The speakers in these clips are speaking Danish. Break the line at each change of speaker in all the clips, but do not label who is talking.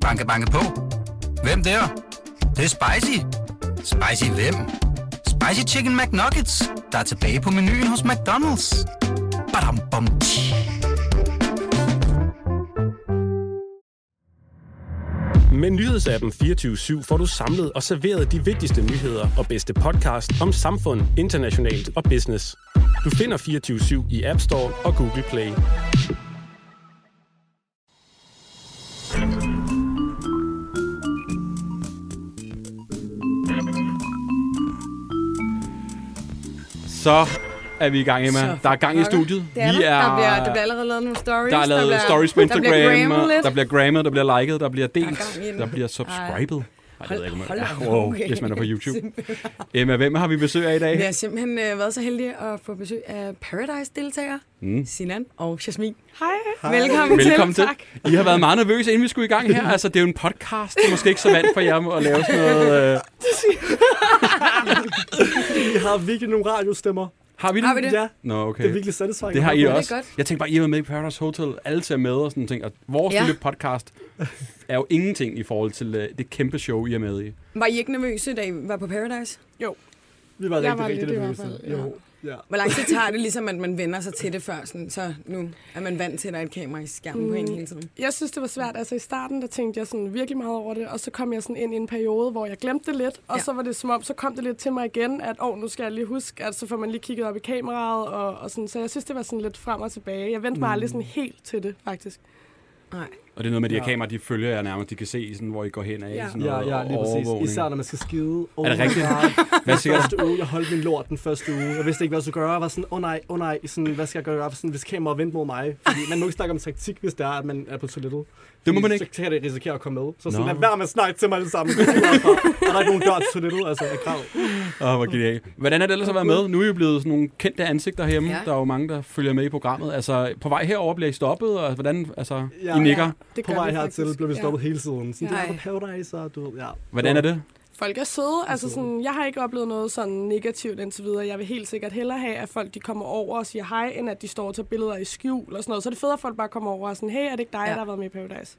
Banke, banke på. Hvem der? Det, er? det er spicy. Spicy hvem? Spicy Chicken McNuggets, der er tilbage på menuen hos McDonald's. Badum, bom, tji.
Med nyhedsappen 24-7 får du samlet og serveret de vigtigste nyheder og bedste podcast om samfund, internationalt og business. Du finder 24-7 i App Store og Google Play.
Så er vi i gang, Emma.
Så
der er gang i
pokker.
studiet.
Det er
vi
der.
er,
Der, bliver, der bliver allerede lavet nogle stories.
der er lavet stories på Instagram,
Der bliver grammet lidt.
der bliver grammet, der bliver liket, der bliver delt,
gang i den.
der, bliver subscribet. Ej, det ved jeg ikke, om
Hold-
jeg-
hold op,
wow,
okay.
hvis man er på YouTube.
Simpelthen.
Emma, hvem har vi besøg af i dag?
Vi har simpelthen øh, været så heldige at få besøg af Paradise-deltagere, mm. Sinan og Jasmin. Hej. Velkommen,
Velkommen til.
til. Tak.
I har været meget nervøse, inden vi skulle i gang her. Altså, det er jo en podcast. Det er måske ikke så vant for jer at lave sådan noget. Øh...
I har virkelig nogle radiostemmer.
Har vi det?
Har vi det?
Ja,
Nå, okay.
det er virkelig satisfying.
Det har I
Det er
også.
godt.
Jeg tænkte bare, I har været med i Paradise Hotel. Alle ser med og sådan ting. Og vores
Ja.
lille podcast er jo ingenting i forhold til øh, det kæmpe show, I er med i.
Var I ikke nervøse, da I var på Paradise?
Vi var
Jeg
rigtig,
var
rigtig
lidt i hvert
nervøse.
fald,
Jo, ja.
Hvor lang tid tager det ligesom, at man vender sig til det før? Sådan, så nu er man vant til, at der er et kamera i skærmen mm. på en hele tiden.
Jeg synes, det var svært. Altså i starten, der tænkte jeg sådan virkelig meget over det, og så kom jeg sådan ind i en periode, hvor jeg glemte det lidt, og
Ja.
ja. så var det som om, så kom det lidt til mig igen, at åh, nu skal jeg lige huske, at så får man lige kigget op i kameraet, og, og sådan, så jeg synes, det var sådan lidt frem og tilbage. Jeg vendte mig aldrig
Mm.
sådan helt til det, faktisk.
Nej.
Og det er noget med de her
Ja.
kameraer, de følger jer nærmest. De kan se, sådan, hvor I går hen af.
Ja.
Sådan
Ja,
noget,
ja,
og
lige
overvågning.
præcis. Især når man skal skide. Oh
Er det
my
rigtigt?
God.
Hvad
Den
siger du?
første uge, jeg holdt min lort den første uge. Jeg vidste ikke, hvad jeg skulle gøre. Jeg var sådan, åh oh, nej, åh oh, nej, sådan, hvad skal jeg gøre, sådan, hvis kameraet vendte mod mig? Fordi man må ikke snakke om taktik, hvis det er, at man er på toilettet.
Det må
Fordi
man ikke.
Så kan det risikere at komme med. Så sådan,
Nå.
lad være med at snakke til mig det samme. Det er herfra. Og der er ikke nogen dør til toilettet, altså, jeg græd.
Åh, oh, hvor genialt. Hvordan er det ellers at være med? Nu er I jo blevet sådan nogle kendte ansigter herhjemme.
Ja.
Ja. Der er jo mange, der følger med i programmet. Altså, på vej herover bliver I stoppet, og hvordan, altså, ja.
Ja.
I nikker.
Det
På
gør
vej
vi
hertil
faktisk.
blev vi stoppet hele tiden. Sådan,
Nej.
det er på Paradise, og du ved, ja.
Hvordan er det?
Folk er søde. Altså sådan, jeg har ikke oplevet noget sådan negativt indtil videre. Jeg vil helt sikkert hellere have, at folk de kommer over og siger hej, end at de står og tager billeder i skjul og sådan noget. Så er det fedt, at folk bare kommer over og sådan, hey, er det ikke dig,
Ja.
ja. der har været med i Paradise?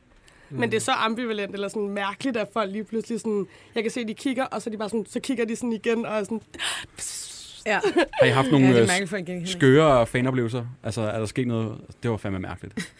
Men
Mm.
det er så ambivalent eller sådan mærkeligt, at folk lige pludselig sådan, jeg kan se, de kigger, og så, er de bare sådan, så kigger de sådan igen og er sådan,
Ja,
Har I haft nogle øh,
ja det er
ja,
mærkeligt, folk ikke
skøre fanoplevelser? Altså, er der sket noget? Det var fandme mærkeligt.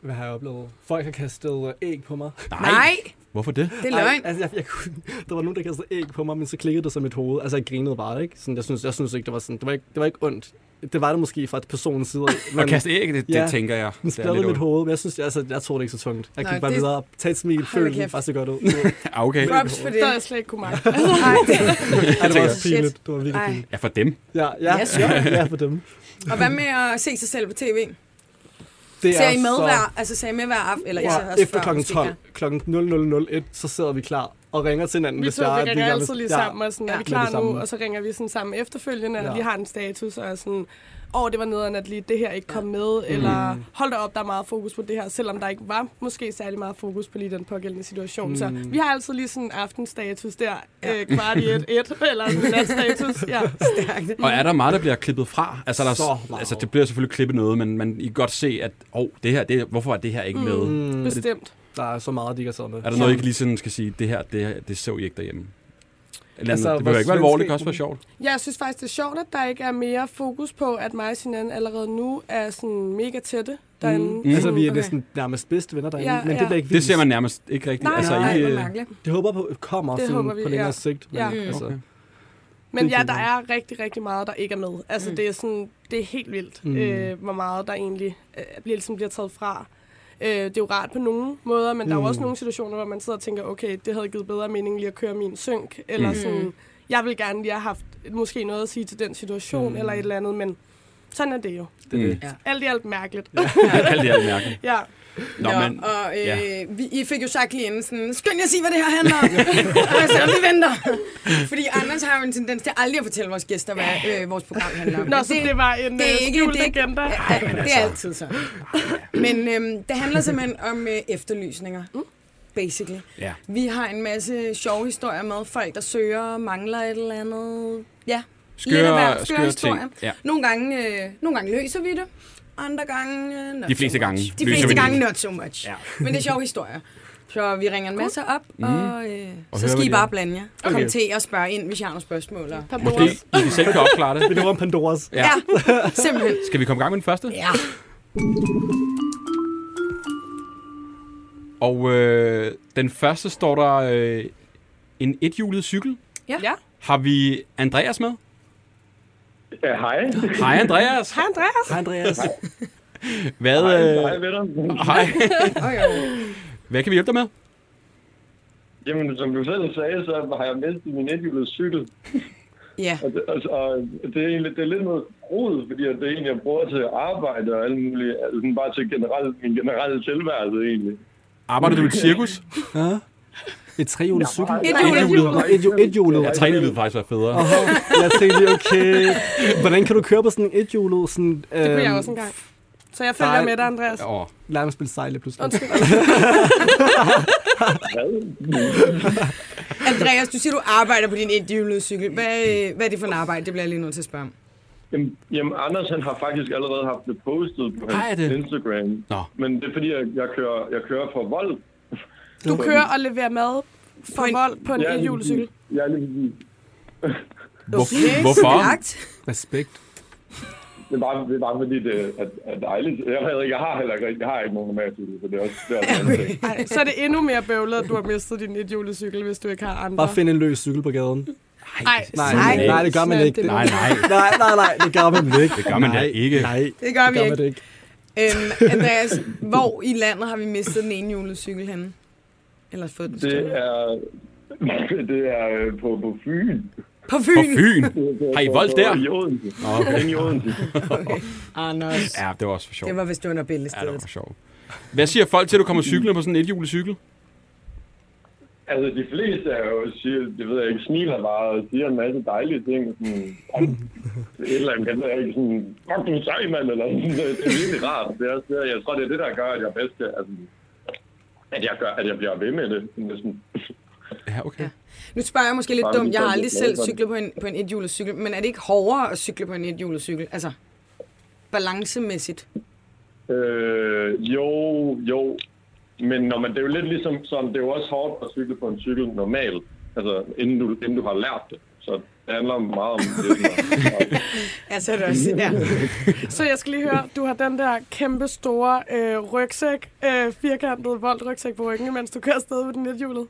Hvad har jeg oplevet? Folk har kastet øh, æg på mig.
Nej,
Hvorfor det?
det er
Ej,
løgn.
Altså, jeg, jeg, kunne- der var nogen, der kastede æg på mig, men så klikkede det så i mit hoved. Altså, jeg grinede bare, ikke? Sådan, jeg, synes, jeg synes ikke, det var sådan... Det var ikke, det var ikke ondt. Det var det måske fra et personens side.
At kaste æg, det, ja.
Ja.
det tænker jeg.
den
Det er
spladrede mit
lidt ondt.
hoved, men jeg synes, altså, jeg tog det ikke så tungt. Jeg
Nå,
gik bare
det-
videre, tag et smil,
Hold da
følte den
kæft.
bare så godt ud. Ej,
Ah, okay.
Props for det.
der er jeg slet ikke kunne magte.
Nej.
det var
tænker-
også pinligt. Det var virkelig
Ej.
pinligt.
Ja, for dem.
Ja, ja,
Ja, sure.
ja, ja, for dem.
Og hvad med at se sig selv på tv?
Det
Ser I med hver, altså ser I med hver aften? Eller I ser
Ja,
også
efter
før,
kl.
måske,
12, kl. 00.01, så sidder vi klar og ringer til hinanden,
Vi
hvis
to
jeg
vi
er...
ringer altid lige sammen, og sådan,
Ja.
er vi
Med
det
klar
samme.
nu? Og så ringer vi sådan sammen efterfølgende, og
Ja.
ja. lige har en status, og er sådan, åh, det var nederen, at lige det her ikke kom med, eller hold da op, der er meget fokus på det her, selvom der ikke var måske særlig meget fokus på lige den pågældende situation. Så vi har altid lige sådan en aftenstatus der,
Ja.
ja. øh, kvart i et, et, eller sådan en natstatus. Ja.
Stærkt.
Og er der meget, der bliver klippet fra? Altså, der er,
Så meget.
altså det bliver selvfølgelig klippet noget, men man, I kan godt se, at oh, det her, det, hvorfor er det her ikke med?
Mm,
Bestemt.
der er så meget, de ikke har siddet med.
Er der noget, I ikke lige sådan skal sige, det her, det, her, det så I ikke derhjemme? Eller
Altså,
altså, det behøver ikke være
vores
alvorligt, det kan også være
venskab-
sjovt.
Ja, jeg synes faktisk, det er sjovt, at der ikke er mere fokus på, at mig og Sinan allerede nu er sådan mega tætte derinde.
Mm.
Altså, vi er
Okay.
næsten nærmest bedste venner derinde,
Ja,
men
ja.
det bliver ikke
Det ser
vist.
man nærmest ikke rigtigt.
Nej,
altså,
Nej,
I,
hvor
øh,
mærkeligt.
Det håber på kommer
Det
sådan
håber vi,
på længere
ja.
sigt. Men,
Ja. Mm.
altså,
Okay.
Men
Det er
ja,
fint
der
nok.
er rigtig, rigtig meget, der ikke er med. Altså,
Mm.
mm. det, er sådan, det er helt vildt,
Mm.
mm. øh, hvor meget der egentlig øh, bliver, ligesom bliver taget fra. Øh, det er jo rart på nogle måder, men mm. der er jo også
Mm.
nogle situationer, hvor man sidder og tænker, okay, det havde givet bedre mening lige at køre min synk, eller
Mm.
mm. sådan, jeg vil gerne lige have haft måske noget at sige til den situation,
Mm.
mm. eller et eller andet, men sådan er det jo.
det er
Mm.
det.
Ja.
Alt i alt mærkeligt.
alt det her mærkeligt.
ja.
Nå,
Nå,
men,
og øh,
ja.
vi, I fik jo sagt lige inden sådan, skynd jer at sige, hvad det her handler om. altså, vi venter. Fordi Anders har jo en tendens til aldrig at fortælle vores gæster, hvad øh, vores program handler om.
Nå, så det, var en
det er
øh,
ikke-
skjult
det er ikke-
agenda.
Ja, det er
altså.
altid så. Men øhm, det handler simpelthen om øh, efterlysninger. Basically.
Ja.
Vi har en masse sjove historier med folk, der søger, mangler et eller andet. Ja, lidt af
skøre,
hvert.
skøre ting.
historier.
Ja.
Nogle gange, øh, nogle gange løser vi det. andre gange øh, not
De fleste
so
gange
much.
lyser
De
vi
fleste
det
gange
ind.
not so much. Ja. Men det er sjov historie. Så vi ringer en masse op, og, øh, og så
Mhm. hører,
skal
hvad
I
de
bare
har.
blande jer. Okay. Kom til at spørge ind, hvis jeg har nogle spørgsmål. Og...
Måske I selv kan opklare det.
Vi laver en Pandoras.
Ja.
Ja, simpelthen.
Skal vi komme i gang med den første?
Ja.
Og øh, den første står der øh, en ethjulet cykel.
Ja.
Har vi Andreas med?
Ja, hej.
Hej Andreas.
Hej Andreas.
Hej, Andreas.
Hvad,
Hej,
øh,
venner.
hej.
Oh, jo.
Hvad kan vi hjælpe dig med?
Jamen, som du selv sagde, så har jeg mistet min ethjulede cykel.
Ja.
Og det, altså, og det, er egentlig, det er lidt noget rod, fordi at det er egentlig, jeg bruger til arbejde og alt muligt. Altså, sådan bare til generelt, min generelle tilværelse, egentlig.
Arbejder du i et cirkus?
Et trehjulet cykel.
Et
Nå, Et, jo- et hjulet.
Ja, tak.
Træne ville faktisk være federe.
Aha, jeg tænkte, okay, hvordan kan du køre på sådan en ethjulet? Sådan,
Det kunne jeg
øhm,
også engang. Så jeg følger
nej.
med dig, Andreas.
Åh,
Lad mig spille sejle pludselig.
Undskyld.
Andreas, du siger, du arbejder på din indhjulede cykel. Hvad, øh, hvad er det for en arbejde? Det bliver jeg lige nødt til at spørge om.
Jamen, jamen, Anders, han har faktisk allerede haft det postet på
Har jeg
hans
det?
Instagram.
Nå.
Men det er fordi, jeg, jeg, kører, jeg kører for vold.
Du kører og leverer mad for
Point.
vold på en
lige
eljulecykel.
præcis. Ja, lige præcis.
Hvor- hvorfor?
Stærkt.
Respekt.
Det er bare, det er bare fordi, det er, er dejligt. Jeg, ved ikke, jeg har heller ikke, rigtig- jeg har ikke nogen normal cykel, så det er også det er også en anden ting.
Ej, så er det endnu mere bøvlet, at du har mistet din eljulecykel, hvis du ikke har andre.
Bare find en løs cykel på gaden.
Ej,
Nej,
Nej.
nej, nej det gør man
Sådan,
ikke.
det-
nej, nej.
nej, nej, nej, det gør man ikke.
Det gør man da
nej,
ikke.
Nej,
Det gør
det
vi
gør man
ikke.
det ikke.
Øhm, Andreas, hvor i landet har vi mistet den ene hjulede cykel henne? Eller fået den
Det
stjålet?
er, det er øh, på, på Fyn.
På
På
Fyn.
Fyn. Har I
På-
voldt
på-
der? Ah,
I Odense.
Okay.
Inde i Odense.
Anders.
Ja, det var også for sjovt.
Ah, Det var vist under
Ja, det var for
billedstedet.
sjovt. Hvad siger folk til, at du kommer cyklende på sådan en ethjulet cykel?
Altså, de fleste er jo, siger, det ved jeg ikke, smiler bare og siger en masse dejlige ting. Sådan, om, et eller andet, jeg ikke sådan, fuck du er sej, mand, eller sådan. noget. Det er virkelig rart. Det er, også det, jeg tror, det er det, der gør, at jeg bedst kan, altså, at jeg, gør, at jeg bliver ved med det. Sådan, det er sådan,
Ja, okay.
Nu spørger jeg måske lidt
Bare
dumt.
lige
Jeg har
for at
aldrig
blive
selv
glad for den.
cyklet på en, på en ethjulet cykel, men er det ikke hårdere at cykle på en ethjulet cykel? Altså, balancemæssigt.
Øh, jo, jo. Men når man, det er jo lidt ligesom, som, det er jo også hårdt at cykle på en cykel normalt, altså inden du, inden du har lært det. Så det handler meget om det.
Altså, det er også, ja.
Så jeg skal lige høre, du har den der kæmpe store øh, rygsæk, øh, firkantet voldrygsæk på ryggen, mens du kører afsted med den nethjulet.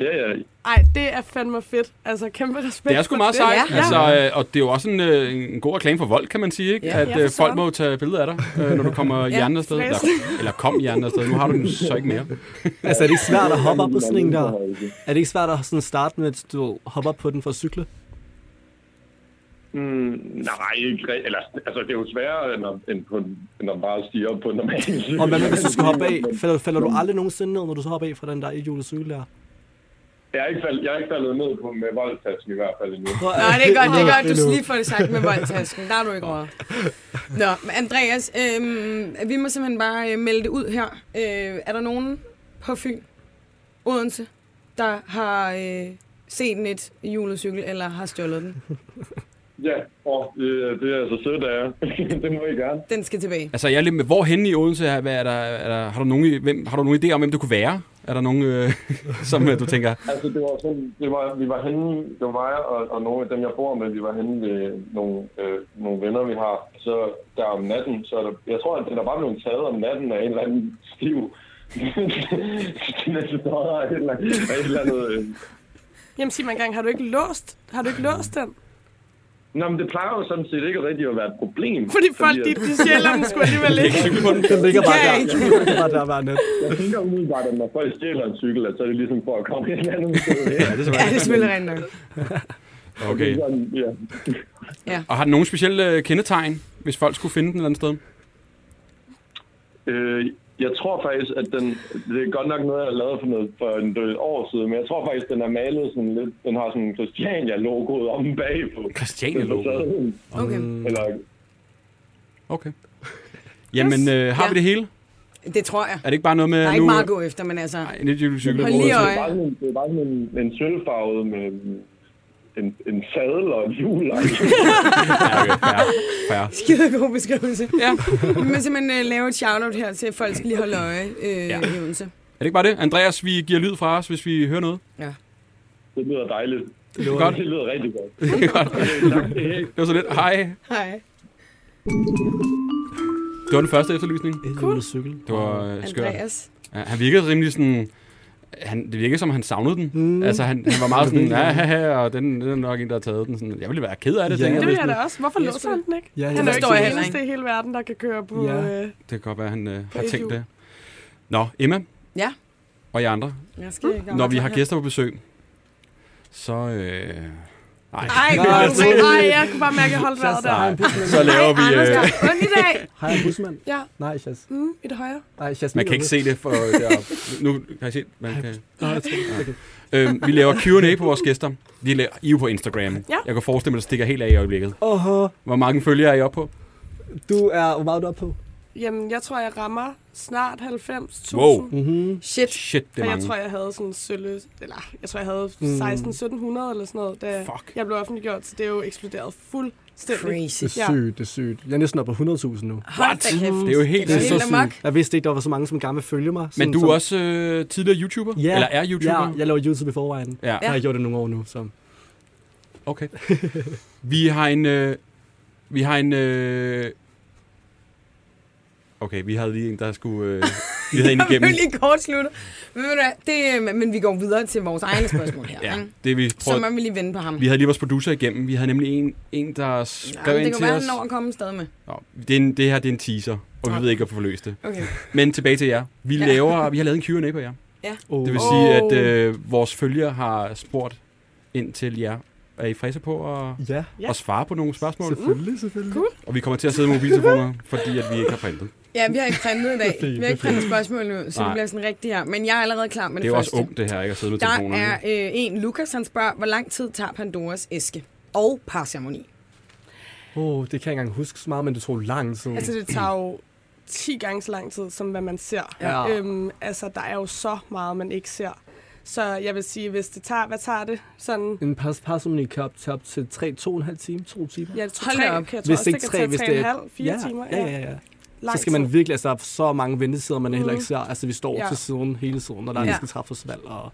Ja, ja.
Ej, det er fandme fedt. Altså, kæmpe respekt
Det er sgu meget
for det.
sejt.
Ja.
Altså, øh, og det er jo også en, øh, en god reklame for vold, kan man sige. Ikke?
Ja.
Ja,
At øh,
for
folk
søren.
må jo tage billeder af dig, øh, når du kommer hjernen afsted. Eller, eller kom hjernen afsted. Nu har du den så ikke mere.
Altså, er det ikke svært at hoppe op på sådan en der?
der.
Er det ikke svært at sådan starte med, at du hopper op på den for at cykle?
Mm, nej, ikke rigtig. Eller, altså, det er jo sværere, end, at, end, på, en- end at bare stige op på en normal cykel.
Og hvad med, hvis du skal hoppe af? Falder, falder du aldrig nogensinde ned, når du så hopper af fra den der ethjulet cykel der?
Jeg er ikke, fald, jeg er ikke faldet ned på med voldtasken i hvert fald endnu.
Nej, det er godt, det er godt. Du lige får det sagt med voldtasken. Der er du ikke over. Nå, men Andreas, øhm, vi må simpelthen bare øh, melde det ud her. Øh, er der nogen på Fyn, Odense, der har øh, set en et julecykel, eller har stjålet den?
Ja, og øh, det er altså sødt af jer. det må I gerne.
Den skal tilbage.
Altså, jeg er lidt med, hvor henne i Odense er, hvad er der, er der, har, du nogen, i- hvem, har du nogen idé om, hvem du kunne være? Er der nogen, øh, som øh, du tænker,
Altså, det var sådan, det var, vi var henne, det var mig og, og nogle af dem, jeg bor med, vi var henne ved nogle, øh, nogle venner, vi har. Så der om natten, så er der, jeg tror, at den er bare blevet taget om natten af en eller anden stiv. den er så af et eller andet, af et eller andet øh.
Jamen, sig mig engang, har du ikke låst, har du ikke låst den?
Nå, men det plejer jo sådan set ikke rigtig at være et problem.
Fordi folk, de,
at-
de sjæler den sgu alligevel ikke.
Den ligger bare
Ja,
der.
ikke?
Den ligger bare der hver nat.
Jeg tænker umiddelbart, at når folk stjæler en cykel, at så er det ligesom for at komme et eller andet sted. hen.
ja, det er så
Ja, det er selvfølgelig rent nok.
Okay.
Sådan, ja.
Og har den nogen specielle øh, kendetegn, hvis folk skulle finde den et eller andet sted?
Øh, jeg tror faktisk, at den... Det er godt nok noget, jeg lavede for, noget, for en del år siden, men jeg tror faktisk, den er malet sådan lidt... Den har sådan Christiania-logoet om bagpå.
Christiania logo.
facaden.
Okay.
Eller,
Okay. Jamen, øh, har
Ja.
vi det hele?
Det tror jeg.
Er det ikke bare noget med...
Der er
nu,
ikke meget at gå efter, men altså...
Nej, en lille cykel.
Hold lige
det,
øje.
er bare sådan, en- det er bare sådan en, en sølvfarvet med
en, en sadel og et hjul. ej.
Ja, okay, fair, fair.
Skide god beskrivelse. Ja. Vi må simpelthen øh, lave et shout-out her til, at folk skal lige holde øje øh, ja. i Odense.
Er det ikke bare det? Andreas, vi giver lyd fra os, hvis vi hører noget.
Det lyder dejligt. Det
lyder godt.
Det lyder rigtig godt.
Det er godt.
Okay, tak til jer.
Det var så lidt. Hej.
Hej.
Det var den første efterlysning.
Cool. cykel.
Det var øh, skørt.
Andreas.
Ja, han virkede rimelig sådan... Han, det virkede som, han savnede den. Mm. Altså, han, han var meget sådan, ja, ja, ja, og den, den er nok en, der har taget den. Sådan, jeg ville være ked af det,
Ja.
ja. tænker jeg.
Det vil
hvis
jeg
nu-
da også. Hvorfor
Jeg
låser
skulle-
han den ikke?
Ja,
Han er jo ikke
forstår jeg
den
heller
eneste i hele verden, der kan køre på...
Ja.
Øh,
Det kan godt være, at han øh, har
På
tænkt
EU.
det. Nå, Emma.
Ja?
Og jer andre.
Jeg skal i gang.
Når vi har gæster på besøg, så... Øh, nej.
Ej,
Nej,
godt.
jeg tror
Ej,
Nej, jeg kunne bare mærke, at jeg holdt vejret der.
Hej, en busmand.
Så laver vi...
Anders, der
Øh,
er ondt i dag.
Hej, en busmand.
Ja,
Nej, Chas.
mm, i det højre.
Nej, Chas.
man kan ikke se det for øh, deroppe. Nu kan jeg se, man kan...
Nej, jeg tror ikke. Okay.
Øh, vi laver Q&A på vores gæster. De laver, I er jo på Instagram.
Ja.
Jeg kan forestille mig, at det stikker helt af i øjeblikket.
Åhå,
Hvor mange følgere er I oppe på?
du er... Hvor meget er du oppe på?
Jamen, jeg tror, jeg rammer snart 90.000.
Wow.
Mm-hmm.
Shit.
Shit, det er
Og
mange. Mm.
jeg tror, jeg havde sådan sølle, eller jeg tror, jeg havde 16-1700 eller sådan noget, da
Fuck.
jeg blev offentliggjort, så det er jo eksploderet fuldstændig.
Crazy.
Det er sygt, det er sygt. Jeg er næsten oppe på 100.000 nu.
Hold da kæft.
Det er jo helt
Det er
så
helt amok.
sygt.
Jeg vidste ikke, der var så mange, som gerne vil følge mig.
Men
Sådan
du
som-
er også øh, tidligere YouTuber?
Ja,
Eller er YouTuber?
Ja, jeg laver YouTube i forvejen.
ja.
Jeg har gjort det nogle år nu, så...
Okay. Vi har en... Øh, vi har en... Øh, okay, vi havde lige en, der skulle... Øh, vi havde en
Jeg
igennem.
vil lige kort slutte. Men, ved du hvad, det, øh, men vi går videre til vores egne spørgsmål her.
Ja,
ja.
det vi
Så
prøvede.
må vi lige vente på ham.
Vi havde lige vores producer igennem. Vi havde nemlig en, en der skrev
Ja,
ind
det kan
til
være,
os.
han når at komme stadig med.
Nå, det, er en, det her det er en teaser, og vi
Nå.
ved ikke, at få løst det.
Okay.
Men tilbage til jer. Vi,
Ja.
laver, vi har lavet en Q&A på jer.
Oh.
Det vil
Åh.
sige, at øh, vores følgere har spurgt ind til jer. Er I friske på at,
Ja,
ja. at svare på nogle spørgsmål?
selvfølgelig, selvfølgelig.
Cool.
Og vi kommer til at sidde med mobiltelefoner, fordi at vi ikke har printet.
Ja, vi har ikke printet i dag.
fint,
Vi har ikke
det er
printet spørgsmål nu, så
Nej.
det bliver sådan rigtigt her. Men jeg er allerede klar
Det er
med det,
jo
første.
også ungt, det her, ikke at sidde med
Der
telefonerne.
er øh, en, Lukas, han spørger, hvor lang tid tager Pandoras æske og parceremoni?
Åh, oh, det kan jeg ikke engang huske så meget, men det tog lang tid.
Altså, det tager jo 10 gange så lang tid, som hvad man ser.
Ja.
Øhm, altså, der er jo så meget, man ikke ser. Så jeg vil sige, hvis det tager, hvad tager det? Sådan,
En pas personlig kan op til, op til 3, 2,5 timer, 2 timer.
ja, jeg tror,
Hold
tre,
da op.
kan jeg tror også, det kan tage tre og en halv, fire
ja,
timer.
Ja, ja, ja.
Lang
Så skal man
tid. Mhm.
virkelig, altså, der er så mange ventesider, man heller ikke ser. Altså, vi står
Ja.
til siden hele tiden, når der
Ja.
ja. skal træffes valg, og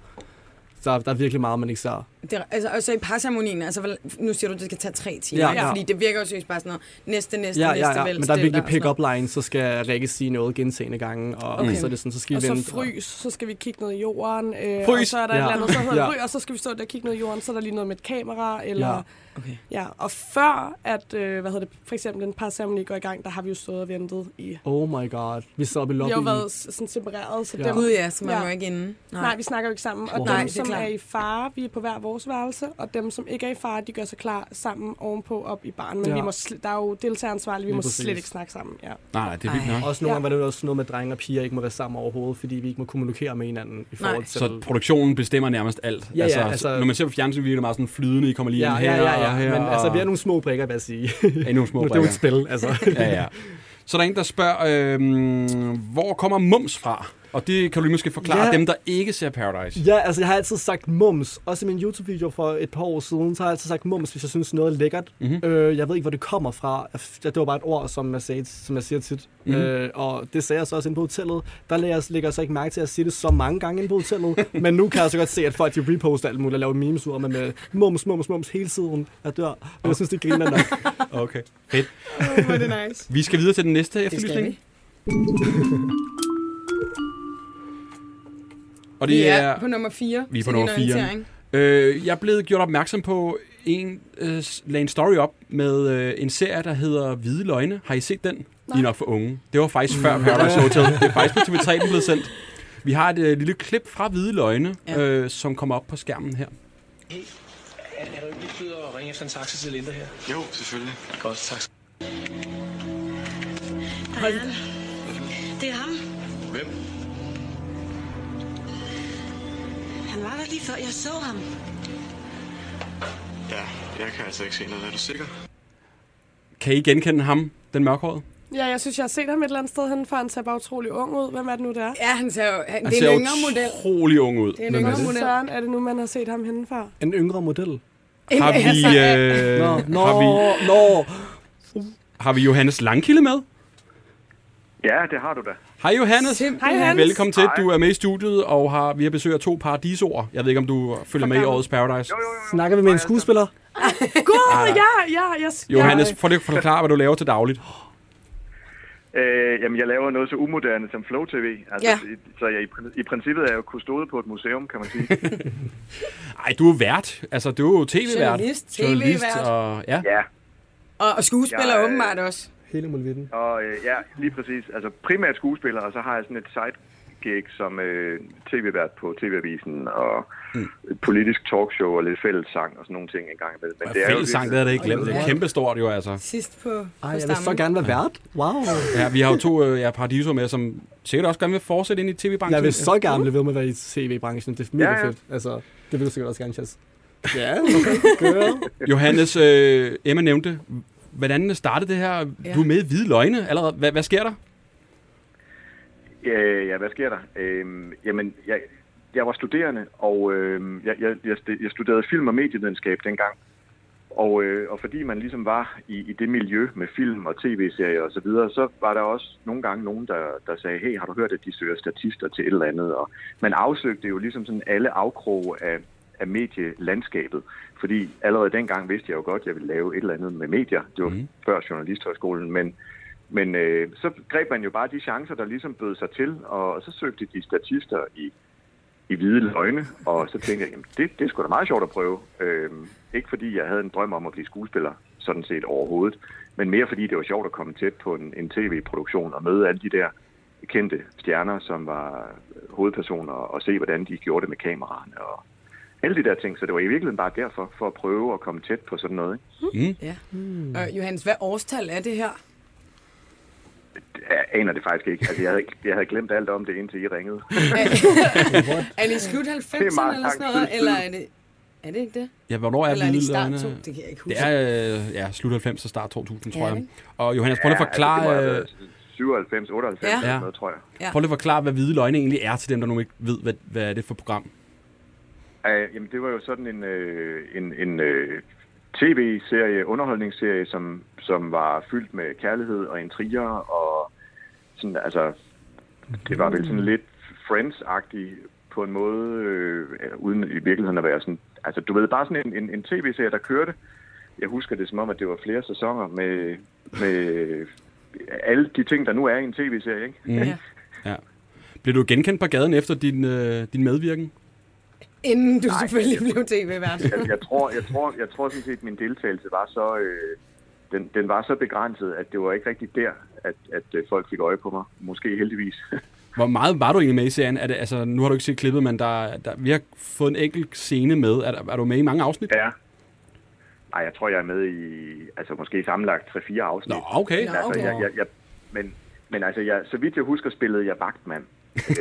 der, der er virkelig meget, man ikke ser.
Det er, altså, og så i parceremonien, altså, hvor- nu siger du, at det skal tage tre timer,
Ja,
ikke?
ja.
fordi det virker jo seriøst bare sådan noget, næste, næste,
Ja,
næste,
ja, ja,
vel,
men der er
stil
virkelig
og sådan
pick-up line, så skal Rikke sige noget gentagende gange, og
Okay.
okay. så er det sådan, så skal
og
vi vente.
så frys, så skal vi kigge ned i jorden. Øh,
Frys!
Og så er der ja.
Ja.
et eller andet, så hedder
Ja.
ja. frys, og så skal vi stå der og kigge ned i jorden, så er der lige noget med et kamera, eller...
Ja.
Ja.
Okay.
ja og før, at, øh, hvad hedder det, for eksempel en par ceremoni går i gang, der har vi jo stået og ventet i...
Oh my god, vi sidder oppe i
Vi
lobbyen.
har jo været s- sådan separeret, så ja.
Ja.
dem,
Gud ja, så man
Ja.
ja. jo ikke inde.
Nej. Nej, vi snakker jo ikke sammen. Og
Nej,
dem,
det er
som er,
klart.
i fare, vi er på hver vores værelse, og dem, som ikke er i fare, de gør sig klar sammen ovenpå op i baren. Men ja.
Ja.
vi må sl- der er jo deltageransvarlige, vi
Lige
må
præcis.
slet ikke snakke sammen. Ja.
Nej, nej, det er vildt
Ej.
nok.
Også nogle
Ja.
gange var det jo også noget med, at drenge og piger ikke må være sammen overhovedet, fordi vi ikke må kommunikere med hinanden i forhold til...
Så produktionen bestemmer nærmest alt.
Ja, ja,
altså,
altså-
når man ser på fjernsyn, virker det meget sådan flydende. I kommer lige
ja,
ind her
ja, ja,
og
ja,
her.
men altså, vi er
og-
nogle små brikker, vil jeg sige.
er I nogle små
Nu, det er jo et
brikker.
spil, altså.
Ja, ja. Så er der en, der spørger, øh, hvor kommer mums fra? Og det kan du lige måske forklare
Ja.
dem, der ikke ser Paradise.
Ja, altså jeg har altid sagt mums. Også i min YouTube-video for et par år siden, så har jeg altid sagt mums, hvis jeg synes noget er lækkert.
Mhm.
Øh, jeg ved ikke, hvor det kommer fra. Jeg f- Det var bare et ord, som jeg, sagde, som jeg siger tit.
Mhm.
Øh, og det sagde jeg så også inde på hotellet. Der lægger jeg, lægger jeg så ikke mærke til at sige det så mange gange inde på hotellet. men nu kan jeg så godt se, at folk de reposter alt muligt og laver memes ud om, at med mums, mums, mums hele tiden. Jeg dør. Men jeg synes, det griner nok.
Okay. Fedt.
Oh, hvor er det nice.
Vi skal videre til den næste
Det skal vi.
efterlysning. Og
Vi
det
er
er...
på nummer 4.
Vi er på nummer fire. Øh, jeg er blevet gjort opmærksom på en, øh, s- lagde en story op med øh, en serie, der hedder Hvide Løgne. Har I set den? Nej. I er nok for unge. Det var faktisk før Paradise Hotel. Det er faktisk på TV3, den blev sendt. Vi har et øh, lille klip fra Hvide Løgne,
Ja.
ja. øh, som kommer op på skærmen her.
Er, er du ikke lige fed at ringe efter en taxa til Linda her?
Jo, selvfølgelig.
Godt, tak.
Det er ham.
Hvem?
Han var der lige før jeg så ham.
Ja, jeg kan altså ikke se noget. Er du sikker?
Kan I genkende ham, den mørkhårede?
ja, jeg synes, jeg har set ham et eller andet sted henne, for han ser bare utrolig ung ud. Hvem er det nu, der er?
Ja, han ser jo, han,
Han
det er
ser
en yngre model.
utrolig ung ud.
Det er en
Hvem
yngre
det?
model.
Søren, er det nu, man har set ham henne fra?
En yngre model.
Har vi, øh,
Nå, nå,
har, vi,
nå.
har vi Johannes Langkilde med?
Ja, det har du da.
Hej Johannes.
Simpelthen.
Hej Hans.
Velkommen til.
Hej.
Du er med i studiet, og har, vi har besøg af to paradisoer. Jeg ved ikke, om du følger med i årets Paradise.
Jo, jo, jo.
Snakker vi med en skuespiller?
Gud, ja, ja, yes.
Johannes,
Ja.
prøv lige at forklare, hvad du laver til dagligt.
Øh, jamen, jeg laver noget så umoderne som Flow TV. Altså,
Ja.
i- Så jeg, i, prin- i princippet er jeg jo kustode på et museum, kan man sige.
Ej, du er vært. Altså, du er jo tv-vært.
Journalist, TV-vært.
og, ja.
ja,
Og, og skuespiller
Jeg, øh,
åbenbart også.
Hele muligheden.
og øh, ja, lige præcis. Altså primært skuespiller, og så har jeg sådan et side gig som øh, tv-vært på TV-avisen, og et politisk talkshow og lidt fællessang og sådan nogle ting engang imellem. Men jo
Fællessang,
virkelig-
det havde jeg da ikke glemt. Det er
Ja.
kæmpestort jo, altså.
Sidst på,
Ej,
på
jeg vil så
stammen.
gerne være vært. Wow.
Ja, vi har jo to øh, ja, paradisoer med, som sikkert også gerne vil fortsætte ind i tv-branchen.
Jeg vil så gerne blive ved med at være i tv-branchen. Det er mega
Ja, ja.
fedt. Altså, det vil du sikkert også gerne, Chas. Ja, okay. Girl.
Johannes, øh, Emma nævnte, hvordan startede det her?
Ja.
Du er med i Hvide Løgne allerede. Hvad, hvad sker der?
Øh, ja, hvad sker der? Øh, jamen, jeg, jeg var studerende, og øh, jeg, jeg, jeg stu- jeg studerede film- og medievidenskab dengang. Og, øh, og fordi man ligesom var i, i det miljø med film og tv-serier osv., så, videre, så var der også nogle gange nogen, der, der sagde, hey, har du hørt, at de søger statister til et eller andet? Og man afsøgte jo ligesom sådan alle afkroge af, af medielandskabet. Fordi allerede dengang vidste jeg jo godt, at jeg ville lave et eller andet med medier. Det var mm. før Journalisthøjskolen, men, men øh, så greb man jo bare de chancer, der ligesom bød sig til, og så søgte de statister i, i hvide løgne, og så tænkte jeg, jamen det, det er sgu da meget sjovt at prøve. Øhm, ikke fordi jeg havde en drøm om at blive skuespiller, sådan set overhovedet, men mere fordi det var sjovt at komme tæt på en, en tv-produktion og møde alle de der kendte stjerner, som var øh, hovedpersoner, og se, hvordan de gjorde det med kameraerne og alle de der ting. Så det var i virkeligheden bare derfor, for at prøve at komme tæt på sådan noget. Ikke?
Ja.
Hmm.
Og Johannes, hvad årstal er det her?
Jeg aner det faktisk ikke. Altså, jeg, havde, jeg havde glemt alt om det, indtil I ringede.
Er det i slut 90'erne eller
lang tid
sådan noget?
siden.
Eller er det, er det ikke det?
Ja, hvornår er
Eller er det i
Hvide
start
Løgne?
to? Det kan jeg ikke huske.
Det er øh, ja, slut 90 og start 2000, tror
Ja,
jeg.
ikke?
Og Johannes, prøv lige at forklare, øh,
Ja, altså, det må have
ja,
været 97, 98
Ja.
ja. eller noget, tror jeg.
ja.
prøv lige at forklare, hvad Hvide Løgne egentlig er til dem, der nu ikke ved, hvad, hvad er det for program.
Uh, jamen, det var jo sådan en, øh, en, en øh, tv-serie, underholdningsserie, som, som var fyldt med kærlighed og intriger, og sådan, altså, det var vel sådan lidt Friends-agtigt på en måde, øh, uden i virkeligheden at være sådan, altså, du ved, bare sådan en, en, en tv-serie, der kørte. Jeg husker det som om, at det var flere sæsoner med, med alle de ting, der nu er i en tv-serie, ikke?
Ja.
Blev du genkendt på gaden efter din, øh, din medvirken?
Inden du selvfølgelig blev tv-vært.
Altså, jeg, jeg tror, jeg tror, jeg tror sådan set, at min deltagelse var så, øh, den, den var så begrænset, at det var ikke rigtig der, at, at øh, folk fik øje på mig. Måske heldigvis.
Hvor meget var du egentlig med i serien? Er det, altså, nu har du ikke set klippet, men der, der, vi har fået en enkelt scene med. Er, er du med i mange afsnit?
ja. Nej, jeg tror, jeg er med i, altså måske sammenlagt 3-4 afsnit.
Nå, okay.
Nå.
Altså,
okay.
jeg, jeg, jeg, men, men altså, jeg, så vidt jeg husker, spillede jeg vagtmand.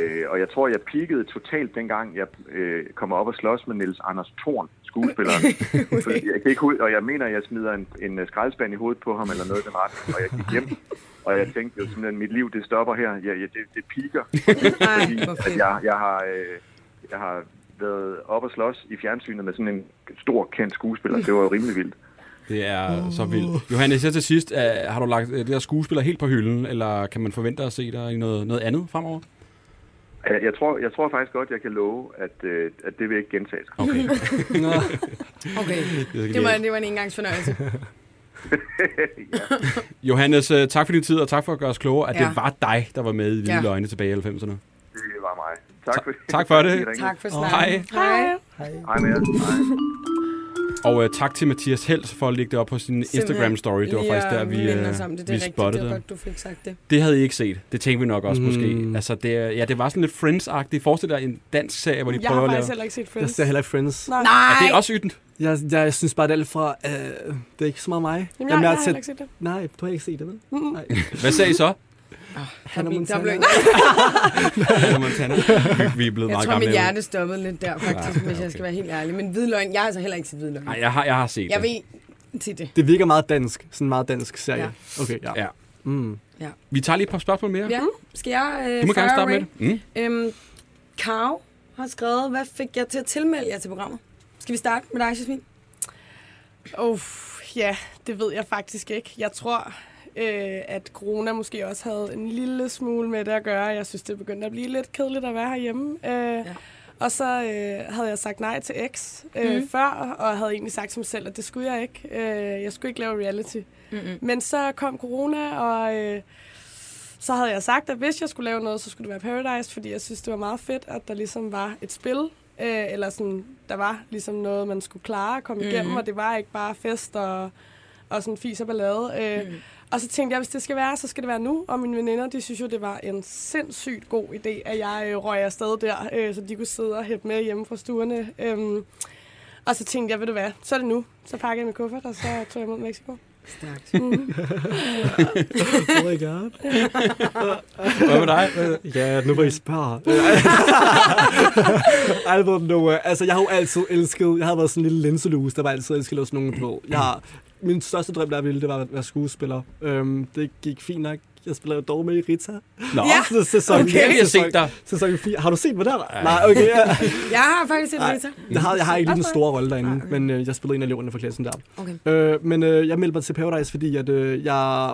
øh, og jeg tror, jeg peakede totalt dengang, jeg øh, kom op og slås med Niels Anders Thorn, skuespilleren. Fordi jeg kan ikke ud, og jeg mener, jeg smider en, en øh, skraldespand i hovedet på ham eller noget i den ret, og jeg gik hjem. Og jeg tænkte jo simpelthen, at mit liv, det stopper her. Jeg, jeg, det, det piker.
Nej,
Fordi
hvor
at
fedt.
jeg, jeg, har, øh, jeg har været op og slås i fjernsynet med sådan en stor, kendt skuespiller. Det var jo rimelig vildt.
Det er så vildt. Johannes, her til sidst, øh, har du lagt øh, det der skuespiller helt på hylden, eller kan man forvente at se dig i noget, noget andet fremover?
Jeg, jeg, tror, jeg tror faktisk godt, jeg kan love, at, øh, at det vil ikke gentage sig.
Okay.
Okay,
skal
det var,
vi-
det var en engangs fornøjelse.
Johannes, øh, tak for din tid, og tak for at gøre os klogere, at ja.
Ja.
det var dig, der var med i Hvide
Ja.
ja. Løgne tilbage i 90'erne.
Det var mig. Tak for,
tak for det.
I ringede.
Tak for
Hej.
snakken.
Hej.
Hej med jer. Hej.
Og øh, tak til Mathias Hels for at lægge det op på sin Instagram-story. Det var faktisk der, vi,
øh,
øh,
sammen. Det, det
vi
er rigtigt, det
spottede
var
det.
godt, du fik sagt det.
Det havde I ikke set. Det tænkte vi nok også mm. måske. Altså, det, er- ja, det var sådan lidt Friends-agtigt. Forestil dig en dansk serie, hvor de
Jeg
prøver
har
at
faktisk
lave...
heller ikke set
Jeg
Friends.
ser heller ikke Friends.
Nej,
Er
Nej,
det også ytent?
Jeg, jeg synes bare, det er alt fra, øh, det er ikke så meget mig.
Jamen, jeg, jeg, har
er
heller ikke set det.
Nej, du har ikke set det, vel? Nej.
Hvad sagde I så?
Han er
min
Montana.
dobbelt-
Hannah Montana. Vi- Vi er blevet
jeg
meget
tror,
gamle.
mit hjerte stoppede lidt der, faktisk,
Ja,
hvis jeg
okay.
skal være helt ærlig. Men hvidløgn, jeg har altså heller ikke set hvidløgn.
Nej, jeg har, jeg har set
Jeg
det.
ved til det.
Det virker meget dansk. Sådan en meget dansk serie.
Ja.
Ja. Okay, ja.
Ja.
Mm.
Vi tager lige et par spørgsmål mere.
Ja, skal jeg øh,
Du må gerne
fire
starte med
away?
det. Mm.
Øhm, Karo har skrevet, hvad fik jeg til at tilmelde jer til programmet? Skal vi starte med dig, Jasmin?
Uff, ja, det ved jeg faktisk ikke. Jeg tror, øh, at corona måske også havde en lille smule med det at gøre. Jeg synes, det begyndte at blive lidt kedeligt at være herhjemme. Øh, ja. Og så øh, havde jeg sagt nej til X øh, mm. før, og havde egentlig sagt til mig selv, at det skulle jeg ikke. Øh, jeg skulle ikke lave reality. Mm-hmm. Men så kom corona, og øh, så havde jeg sagt, at hvis jeg skulle lave noget, så skulle det være Paradise, fordi jeg synes, det var meget fedt, at der ligesom var et spil, Øh, eller sådan, der var ligesom noget, man skulle klare at komme
Mhm.
mm. igennem, og det var ikke bare fest og, og sådan fis og ballade. Øh,
Mhm.
mm. Og så tænkte jeg, hvis det skal være, så skal det være nu. Og mine veninder, de synes jo, det var en sindssygt god idé, at jeg øh, røg afsted der, øh, så de kunne sidde og hæppe med hjemme fra stuerne. Øh, og så tænkte jeg, ved du hvad, så er det nu. Så pakkede jeg min kuffert, og så tog jeg mod Mexico.
Stærkt.
Oh my god.
Hvad med dig? Øh,
Ja, nu var I spørger. I don't know. Altså, jeg har jo altid elsket... Jeg har været sådan en lille linselus, der var altid elsket at lave sådan nogle på. Jeg har, min største drøm, der ville, det var at være skuespiller. Øhm, det gik fint nok. Jeg spiller jo dog med i Rita.
Nå.
Ja.
Også sæson,
Okay, jeg har set
sæson-
dig.
Sæson 4. Har du set mig der? Nej, okay. Ja.
Jeg har faktisk set
Nej,
Rita.
jeg har, jeg har ikke lige den
Hvorfor?
store rolle derinde,
Nej, okay.
men øh, jeg spillede en af eleverne fra klassen der.
Okay.
Øh, men øh, jeg meldte mig til Paradise, fordi at, øh, jeg...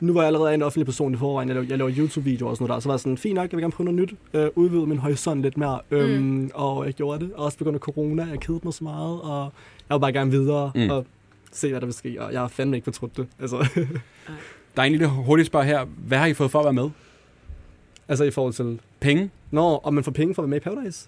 Nu var jeg allerede en offentlig person i forvejen. Jeg laver, jeg laver YouTube-videoer og sådan noget der. Så var jeg sådan, fint nok, jeg vil gerne prøve noget nyt. Øh, udvide min horisont lidt mere. Øhm, mm. Og jeg gjorde det. Og også på grund af corona. Jeg kedede mig så meget. Og jeg vil bare gerne videre.
Mm.
Mm. Og se, hvad der vil ske. Og jeg har fandme ikke fortrudt det. Altså,
Der er en lille hurtig spørg her. Hvad har I fået for at være med?
altså i forhold til...
Penge?
Nå, om man får penge for at være med i Paradise?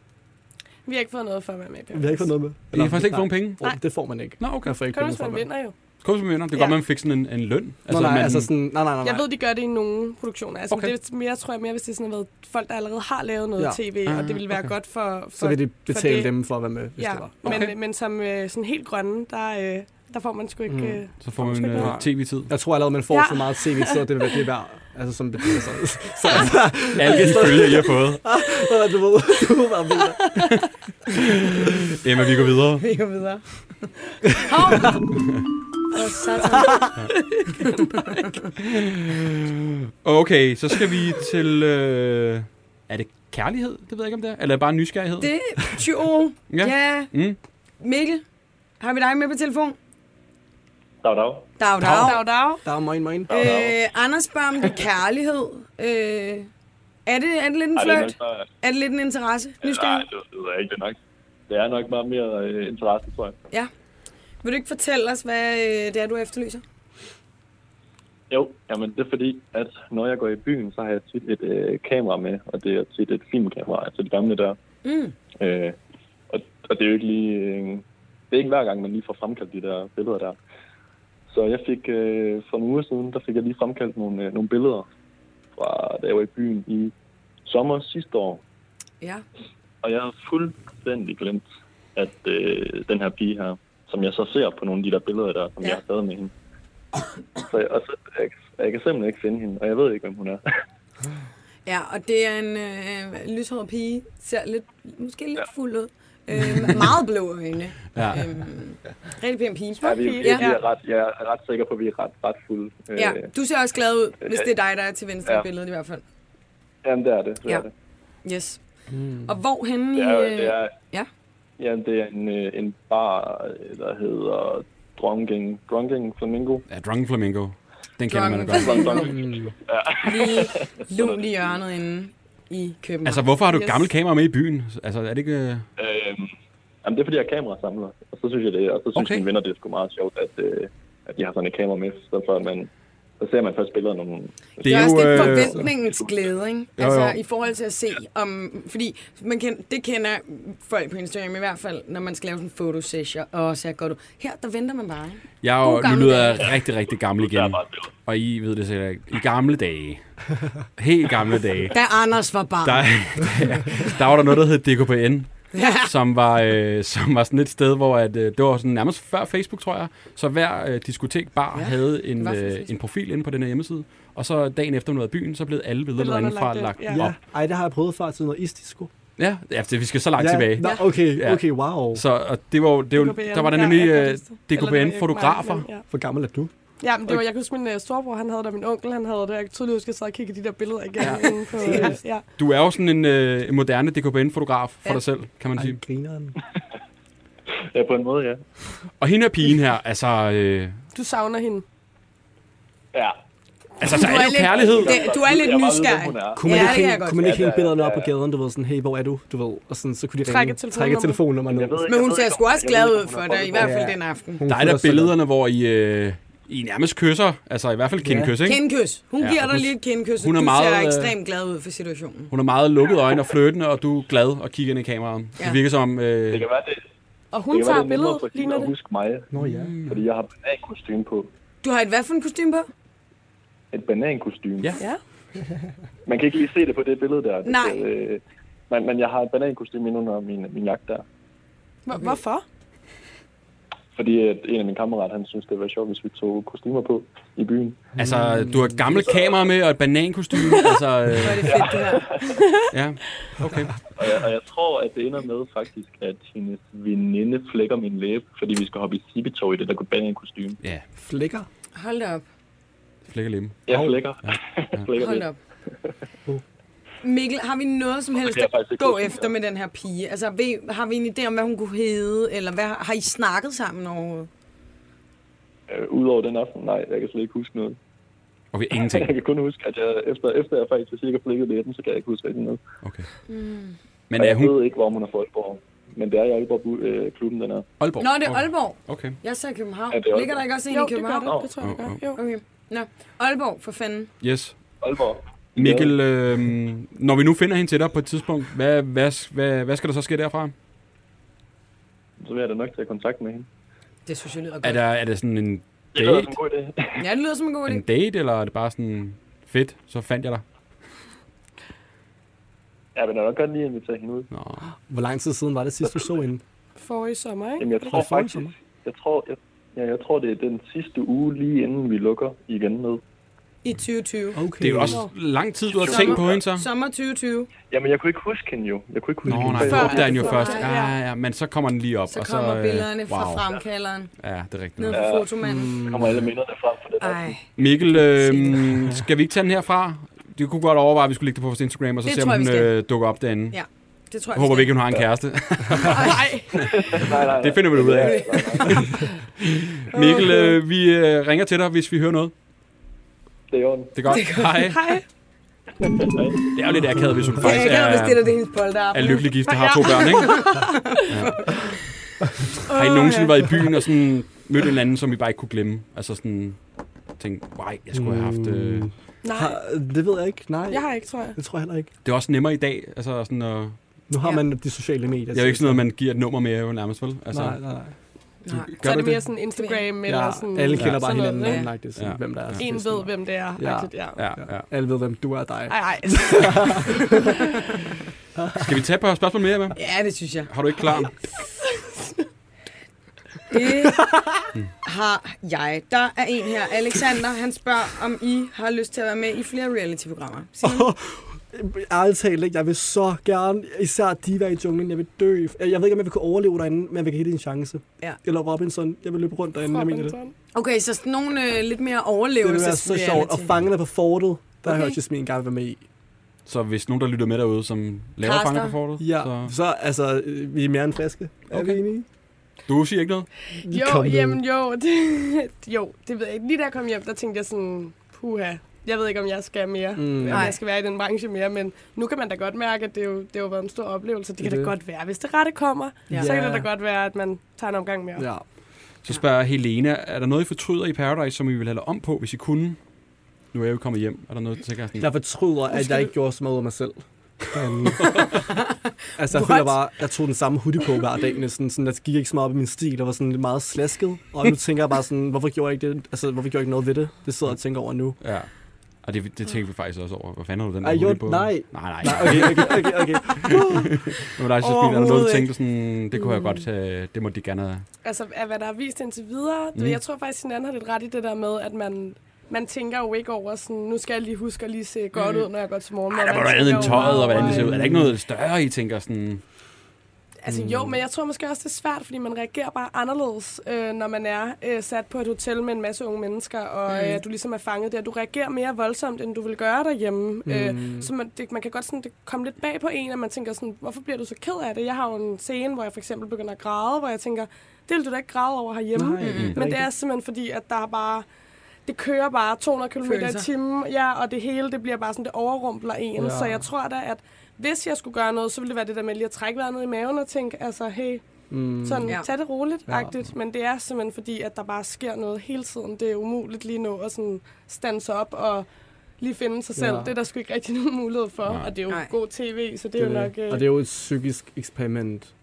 Vi har ikke fået noget for at være med i
Vi har ikke fået noget med.
I har faktisk ikke fået nogen penge?
Nej. Det får man ikke.
Nå, okay.
Jeg får ikke
Kun
penge
hvis
for at
man
være med.
vinder jo.
Kom som vinder. Det går,
Ja.
man fik sådan en, en løn.
Nå, nej,
man,
altså sådan... Nej, nej, nej.
Jeg ved, de gør det i nogle produktioner. Altså,
Okay.
okay. det er mere, tror jeg mere, hvis det sådan har været folk, der allerede har lavet noget
Ja. Ah,
ja. tv, og det ville være
okay.
okay. godt for, for
så vil de betale
det-
dem for at være med, hvis
ja.
det var.
Men,
Okay.
men som øh, sådan helt grønne, der, øh, der får man sgu ikke...
Mm.
Mm. Øh,
Så får man
Undskyld.
øh, tv-tid.
Jeg tror allerede, man får ja.
Ja.
så meget tv så det vil det værd. Altså som betyder så. så altså,
Alle de følger, I har fået.
du ved, du ved, hvad jeg mener.
Emma, vi går videre.
Vi går videre. Hov! Åh, satan.
Okay, så skal vi til... Øh, er det kærlighed? Det ved jeg ikke, om det er. Eller er det bare nysgerrighed?
Det er 20.
Ja.
Ja. ja.
Mm.
Mikkel, har vi dig med på telefon?
Dag, dag.
Dag, dag.
Dag, dag.
Der er moin, moin.
Øh, Anders spørger om det er kærlighed. Øh, er, det, er det lidt en
Ej, det er nok
flirt?
bare-
Er det lidt en interesse?
Nej,
Nysgerrig?
det ved jeg ikke. Det er nok, det er nok meget mere øh, interesse, tror jeg.
Vil du ikke fortælle os, hvad øh, det er, du efterlyser?
Jo, jamen det er fordi, at når jeg går i byen, så har jeg tit et øh, kamera med, og det er tit et filmkamera, altså det gamle der.
Mm.
Øh, og, og det er jo ikke lige... Øh, det er ikke hver gang, man lige får fremkaldt de der billeder der. Så jeg fik øh, for nogle uger siden, der fik jeg lige fremkaldt nogle, øh, nogle billeder fra da jeg var i byen i sommer sidste år.
Ja.
Og jeg har fuldstændig glemt, at øh, den her pige her, som jeg så ser på nogle af de der billeder der, som
Ja.
ja. jeg har taget med hende. Så jeg, og så, jeg, jeg kan simpelthen ikke finde hende, og jeg ved ikke, hvem hun er.
Ja, og det er en øh, lyshåret pige. Ser lidt, måske lidt fuld ud. Øh, meget blå øjne.
Ja.
Øhm, rigtig pæn pige.
Ja, vi, vi,
Ja.
vi er ret, jeg er ret sikker på, at vi er ret, ret fulde.
Ja,
Øh,
du ser også glad ud, hvis det er dig, der er til venstre
Ja.
i billedet i hvert fald.
jamen, det er det. Det,
Ja.
er, det.
Yes.
Hmm.
Og hvor henne i...
det, er, jo- det
øh,
er,
ja.
Jamen, det er en, øh, en bar, øh, der hedder Drunking, Drunking Flamingo.
Ja, Drunken Flamingo. Den kender man da
Drunken
godt.
Drunk- Drunking.
øh, lige lunt i hjørnet inde i København.
Altså, hvorfor har du et
Yes.
gammelt kamera med i byen? Altså, er det ikke... øh,
Øhm, jamen, det er, fordi jeg er kamerasamler, og så synes jeg det, og så synes
Okay.
okay. mine venner, det er sgu meget sjovt, at, øh, at de har sådan et kamera med, så for at man så ser man først billeder, når man...
Det
det er også lidt
øh,
forventningens glæde, ikke?
Jo,
Altså,
jo.
i forhold til at se om... Fordi man kan, det kender folk på Instagram i hvert fald, når man skal lave sådan en fotosession, og ser godt ud. Her, der venter man bare. ikke?
Jeg er jo,
God
nu
gamle
lyder jeg rigtig, rigtig gammel
Der er
igen.
bare et billede.
Og I ved det sikkert ikke. I gamle dage. Helt gamle dage.
Da Anders var barn.
Der, der var der noget, der hed DKPN. som var, øh, som var sådan et sted, hvor at, øh, det var sådan nærmest før Facebook, tror jeg. Så hver øh, diskotekbar ja,
Ja,
havde en,
var før
øh,
Facebook.
en profil inde på den her hjemmeside. Og så dagen efter, hun havde i byen, så blev alle billederne
Billederne
derindefra lagt,
lagt
lagt
ind,
ja. op.
Ja, ej, det har jeg prøvet før til noget isdisco.
Ja, ja for vi skal så langt ja, tilbage.
Nå,
Ja.
okay,
Ja.
okay, wow.
Så og det var, jo- det var,
DKBN,
der var der
ja,
nemlig
jeg kan
øh,
huske det. Eller det var ikke mig,
DKPN-fotografer.
men ja.
Hvor gammel er du?
Ja, men det var, jeg kan huske, min uh, storbror han havde det, og min onkel han havde det. og Jeg kan tydeligt huske, at jeg sad og kiggede de der billeder igen. Ja. Inde på, øh, ja.
Du er jo sådan en øh, en moderne DKPN-fotograf for
Ja.
dig selv, kan man sige.
Ej, grineren.
Ja, på en måde, ja.
Og hende er pigen her, altså... Øh,
Du savner hende.
Ja.
altså, så er det jo
lidt-
kærlighed.
det- Du er lidt
Jeg bare ved,
nysgerrig.
hvem hun er.
Kunne man,
Ja, det
ikke,
kan
hænge,
jeg
kunne man ikke
Ja,
hænge
ja,
billederne op
ja,
på gaden, du ved sådan, hey, hvor er du, du ved, og sådan, så kunne de
Trække
ringe, trække
telefonnummer.
telefonnummer ned.
Jeg ved ikke,
Men
jeg
hun
ved
ser
ikke,
sgu
om-
også
jeg
glad
ved ikke,
ud
om
for
hun
dig,
er
i hvert fald
Ja.
den aften.
Hun
Der er
føler
der
sig-
billederne, hvor I, øh, I nærmest kysser. Altså i hvert fald kindkys, ikke?
Kindkys. Hun
Ja,
giver
og
dig
hun-
lige et kindkys, og
hun er
du
meget,
ser
øh,
ekstremt glad ud for situationen.
Hun har meget lukkede øjne og fløjtende, og du er glad og kigger ind i kameraet. Ja.
Ja.
Det virker som...
Det
Øh,
kan være, det,
Og
det,
hun
kan være, det er
tager
nemmere
billedet,
for hende
ligner
at
det.
huske mig,
Nå ja.
fordi jeg har banankostyme på.
Du har et hvad for en kostume på?
Et banankostyme.
Ja.
Ja.
Man kan ikke lige se det på det billede der. Det-
Nej.
Øh, men, men jeg har et banankostyme ind under min, min jagt der.
Hvor- Hvorfor?
Fordi at en af mine kammerater, han synes, det var sjovt, hvis vi tog kostymer på i byen.
altså, du har et gammelt kamera med og et banankostyme. altså,
Hvor
øh,
er det fedt, det her.
ja. Okay.
Og jeg, og jeg tror, at det ender med faktisk, at hendes veninde flækker min læbe, fordi vi skal hoppe i sibetog i det der banankostyme.
Ja,
Flækker?
Hold da op.
flækker lemme.
Jeg flækker. Jeg flækker
Hold
lidt.
da op. Mikkel, har vi noget som helst
kan jeg faktisk
at
ikke
gå
huske,
efter med den her pige? Altså, ved- har vi en idé om, hvad hun kunne hedde? Eller hvad, har I snakket sammen overhovedet?
Øh, Udover den aften, nej, jeg kan slet ikke huske noget.
Okay, ingenting.
Jeg kan kun huske, at jeg, efter, efter jeg faktisk cirka flækkede læben, så kan jeg ikke huske rigtig noget.
Okay.
Mm.
Men er
Og jeg
hun
ved ikke, hvor hun er fra Aalborg. Men det er i Aalborg bu- øh, klubben, den er.
Aalborg?
Nå, det er Aalborg.
Okay.
Jeg sagde København.
Ja, det er
Ligger der
Aalborg.
ikke også en
Jo,
i
det gør
København?
det. Det tror jeg, det gør. Jo.
Okay. Nå, Aalborg, for fanden.
Yes.
Aalborg.
Mikkel, øh, når vi nu finder hende til dig på et tidspunkt, hvad, hvad, hvad, hvad skal der så ske derfra?
Ja, Så vil jeg da nok tage kontakt med hende.
Det synes jeg lyder
Er
godt.
der, er der sådan en
Det lyder som
date?
en god idé.
Ja, det lyder som en god idé.
En date, eller er det bare sådan, fedt, så fandt jeg dig?
Ja, men jeg vil nok godt lige invitere hende ud.
Nå.
Hvor lang tid siden var det sidst, du så hende?
Forrige sommer, ikke?
Jamen, jeg tror
det forrige sommer?
faktisk... Jeg tror, jeg, ja, jeg tror, det er den sidste uge, lige inden vi lukker igen ned.
I 2020.
Okay.
Det er jo også lang tid, du har
Sommer.
tænkt på hende så.
Sommer 2020.
Jamen, jeg kunne ikke huske hende jo. Jeg kunne ikke huske
Nå,
hende.
nej, du
Før-
opdager den jo
Før-
først.
Ja.
Ja, ja, ja, men så kommer den lige op.
Så
og
kommer
øh,
billederne fra
wow.
fremkalderen
Ja, Mm. det er rigtigt.
ned
nok.
fra fotomanden.
Der kommer alle minderne frem for det der.
Ej,
Mikkel, øh, skal vi ikke tage den herfra? Du kunne godt overveje, at vi skulle lægge det på vores Instagram, og så
Det
se, om
tror jeg, vi
hun
skal.
øh, dukker op derinde.
Ja. det tror jeg.
Jeg håber vi
skal.
ikke, hun har en kæreste.
Nej.
Nej, nej, nej.
det finder vi ud af. Mikkel, øh, vi øh, ringer til dig, hvis vi hører noget.
Det er i orden.
Det er godt. Det er godt. Hej.
Hej.
Det er jo lidt akavet, hvis hun
Ja,
faktisk
jeg kan bestille
er,
det hendes polterabend.
er lykkelig gift og har to børn, ikke? Ja. Har I nogensinde været i byen og sådan mødt en anden, som I bare ikke kunne glemme? Altså sådan tænkt, nej, jeg skulle have haft... Øh...
Mm.
Nej,
Har, det ved jeg ikke, nej.
jeg har ikke, tror jeg.
Det tror jeg heller ikke.
Det er også nemmere i dag. Altså sådan, øh...
Nu har
Ja.
man de sociale medier.
Jeg er jo ikke sådan noget, man giver et nummer med jo nærmest, vel? Altså,
Nej, nej, nej.
Nej.
Så er
du
det mere sådan Instagram eller
Ja,
altså sådan...
alle kender bare
sådan noget,
hinanden,
ikke?
ja. det, sådan,
Ja.
hvem der er.
En ved, hvem det er.
Ja.
Ja. ja.
Ja, ja.
Alle ved, hvem du er og dig.
Ej, ej.
altså.
Skal vi tage på spørgsmål mere, Emma?
Ja, det synes jeg.
Har du ikke klar?
Det har jeg. Der er en her, Alexander, han spørger, om I har lyst til at være med i flere reality-programmer. Simon?
Ærligt talt, ikke? jeg vil så gerne, især Diva i junglen, jeg vil dø. Jeg jeg ved ikke, om jeg vil kunne overleve derinde, men jeg vil give det en chance.
Ja.
Eller Robinson, jeg vil løbe rundt derinde, jeg mener det.
Robinson.
Okay, så sådan nogle øh, lidt mere
Det ville være
overlevelses
så sjovt. Og fangerne på fortet, der okay.
Okay.
hørte Jasmin gerne være med i.
Så hvis nogen, der lytter med derude, som laver
Karsten.
fanger på fortet,
Ja, så,
så...
så altså, øh, vi er mere end friske. Er
Okay.
vi enige?
Du siger ikke noget?
Jo, jamen jo. Det, jo, det ved jeg ikke. Lige da jeg kom hjem, der tænkte jeg sådan, puha, jeg ved ikke, om jeg skal mere.
Mm.
Mm.
Nej.
Jeg skal være i den branche mere, men nu kan man da godt mærke, at det, jo, det har jo været en stor oplevelse. Det kan
Det er
da
det.
godt være, hvis det rette kommer,
Ja.
ja. så kan det da godt være, at man tager en omgang mere. Ja.
Ja.
Så spørger Helena, er der noget, I fortryder i Paradise, som I ville have lavet om på, hvis I kunne? Nu er jeg jo kommet hjem. Er der noget, du tænker sådan?
Jeg fortryder, at jeg ikke gjorde så meget ud af mig selv. Um, altså, jeg
What?
føler bare, jeg tog den samme hoodie på hver dag næsten. Sådan, jeg gik ikke så meget op i min stil, og var sådan lidt meget slasket. Og nu tænker jeg bare sådan, hvorfor gjorde jeg ikke det? Altså, hvorfor gjorde jeg ikke noget ved det? Det sidder jeg og tænker over nu.
Ja. Og det, det tænkte vi faktisk også over. Hvad fanden har du den
Ej, jo,
hoodie på?
nej.
Nej, nej.
Nej, okay, okay, okay, okay.
Det var dig, Jasmin. Er der noget, du
Overhovedet
tænkte sådan, det kunne
Mm.
jeg godt, øh, det må de gerne have.
Altså, af hvad der er vist indtil videre.
Mm.
Mm. Jeg tror faktisk, at hinanden har lidt ret i det der med, at man, man tænker jo ikke over sådan, nu skal jeg lige huske at lige se godt ud, når jeg går til morgen.
Ej, der var noget andet end tøjet, og hvordan det ser ud. Er der ikke noget større, I tænker sådan...
Altså mm. jo, men jeg tror måske også, det er svært, fordi man reagerer bare anderledes, øh, når man er øh, sat på et hotel med en masse unge mennesker,
Mm.
og øh, du ligesom er fanget der. Du reagerer mere voldsomt, end du vil gøre derhjemme. Mm. Øh, så man, det, man kan godt sådan, det komme lidt bag på en, at man tænker sådan, hvorfor bliver du så ked af det? Jeg har jo en scene, hvor jeg for eksempel begynder at græde, hvor jeg tænker, det vil du da ikke græde over herhjemme.
Nej, det er
Men det
rigtigt.
er simpelthen fordi, at der er bare... Det kører bare 200 km i
Følelser.
timen, ja, og det hele, det bliver bare sådan, det overrumpler en. Ja. Så jeg tror da, at hvis jeg skulle gøre noget, så ville det være det der med lige at trække vejret ned i maven og tænke, altså, hey, mm. sådan, ja.
Ja.
tag det roligt, agtigt. Men det er simpelthen fordi, at der bare sker noget hele tiden. Det er umuligt lige nu at sådan stanse op og lige finde sig selv.
Ja.
Ja. Det er der sgu ikke rigtig nogen mulighed for, og det er jo
Nej.
god tv, så det er jo nok... øh,
Og det er jo et psykisk eksperiment.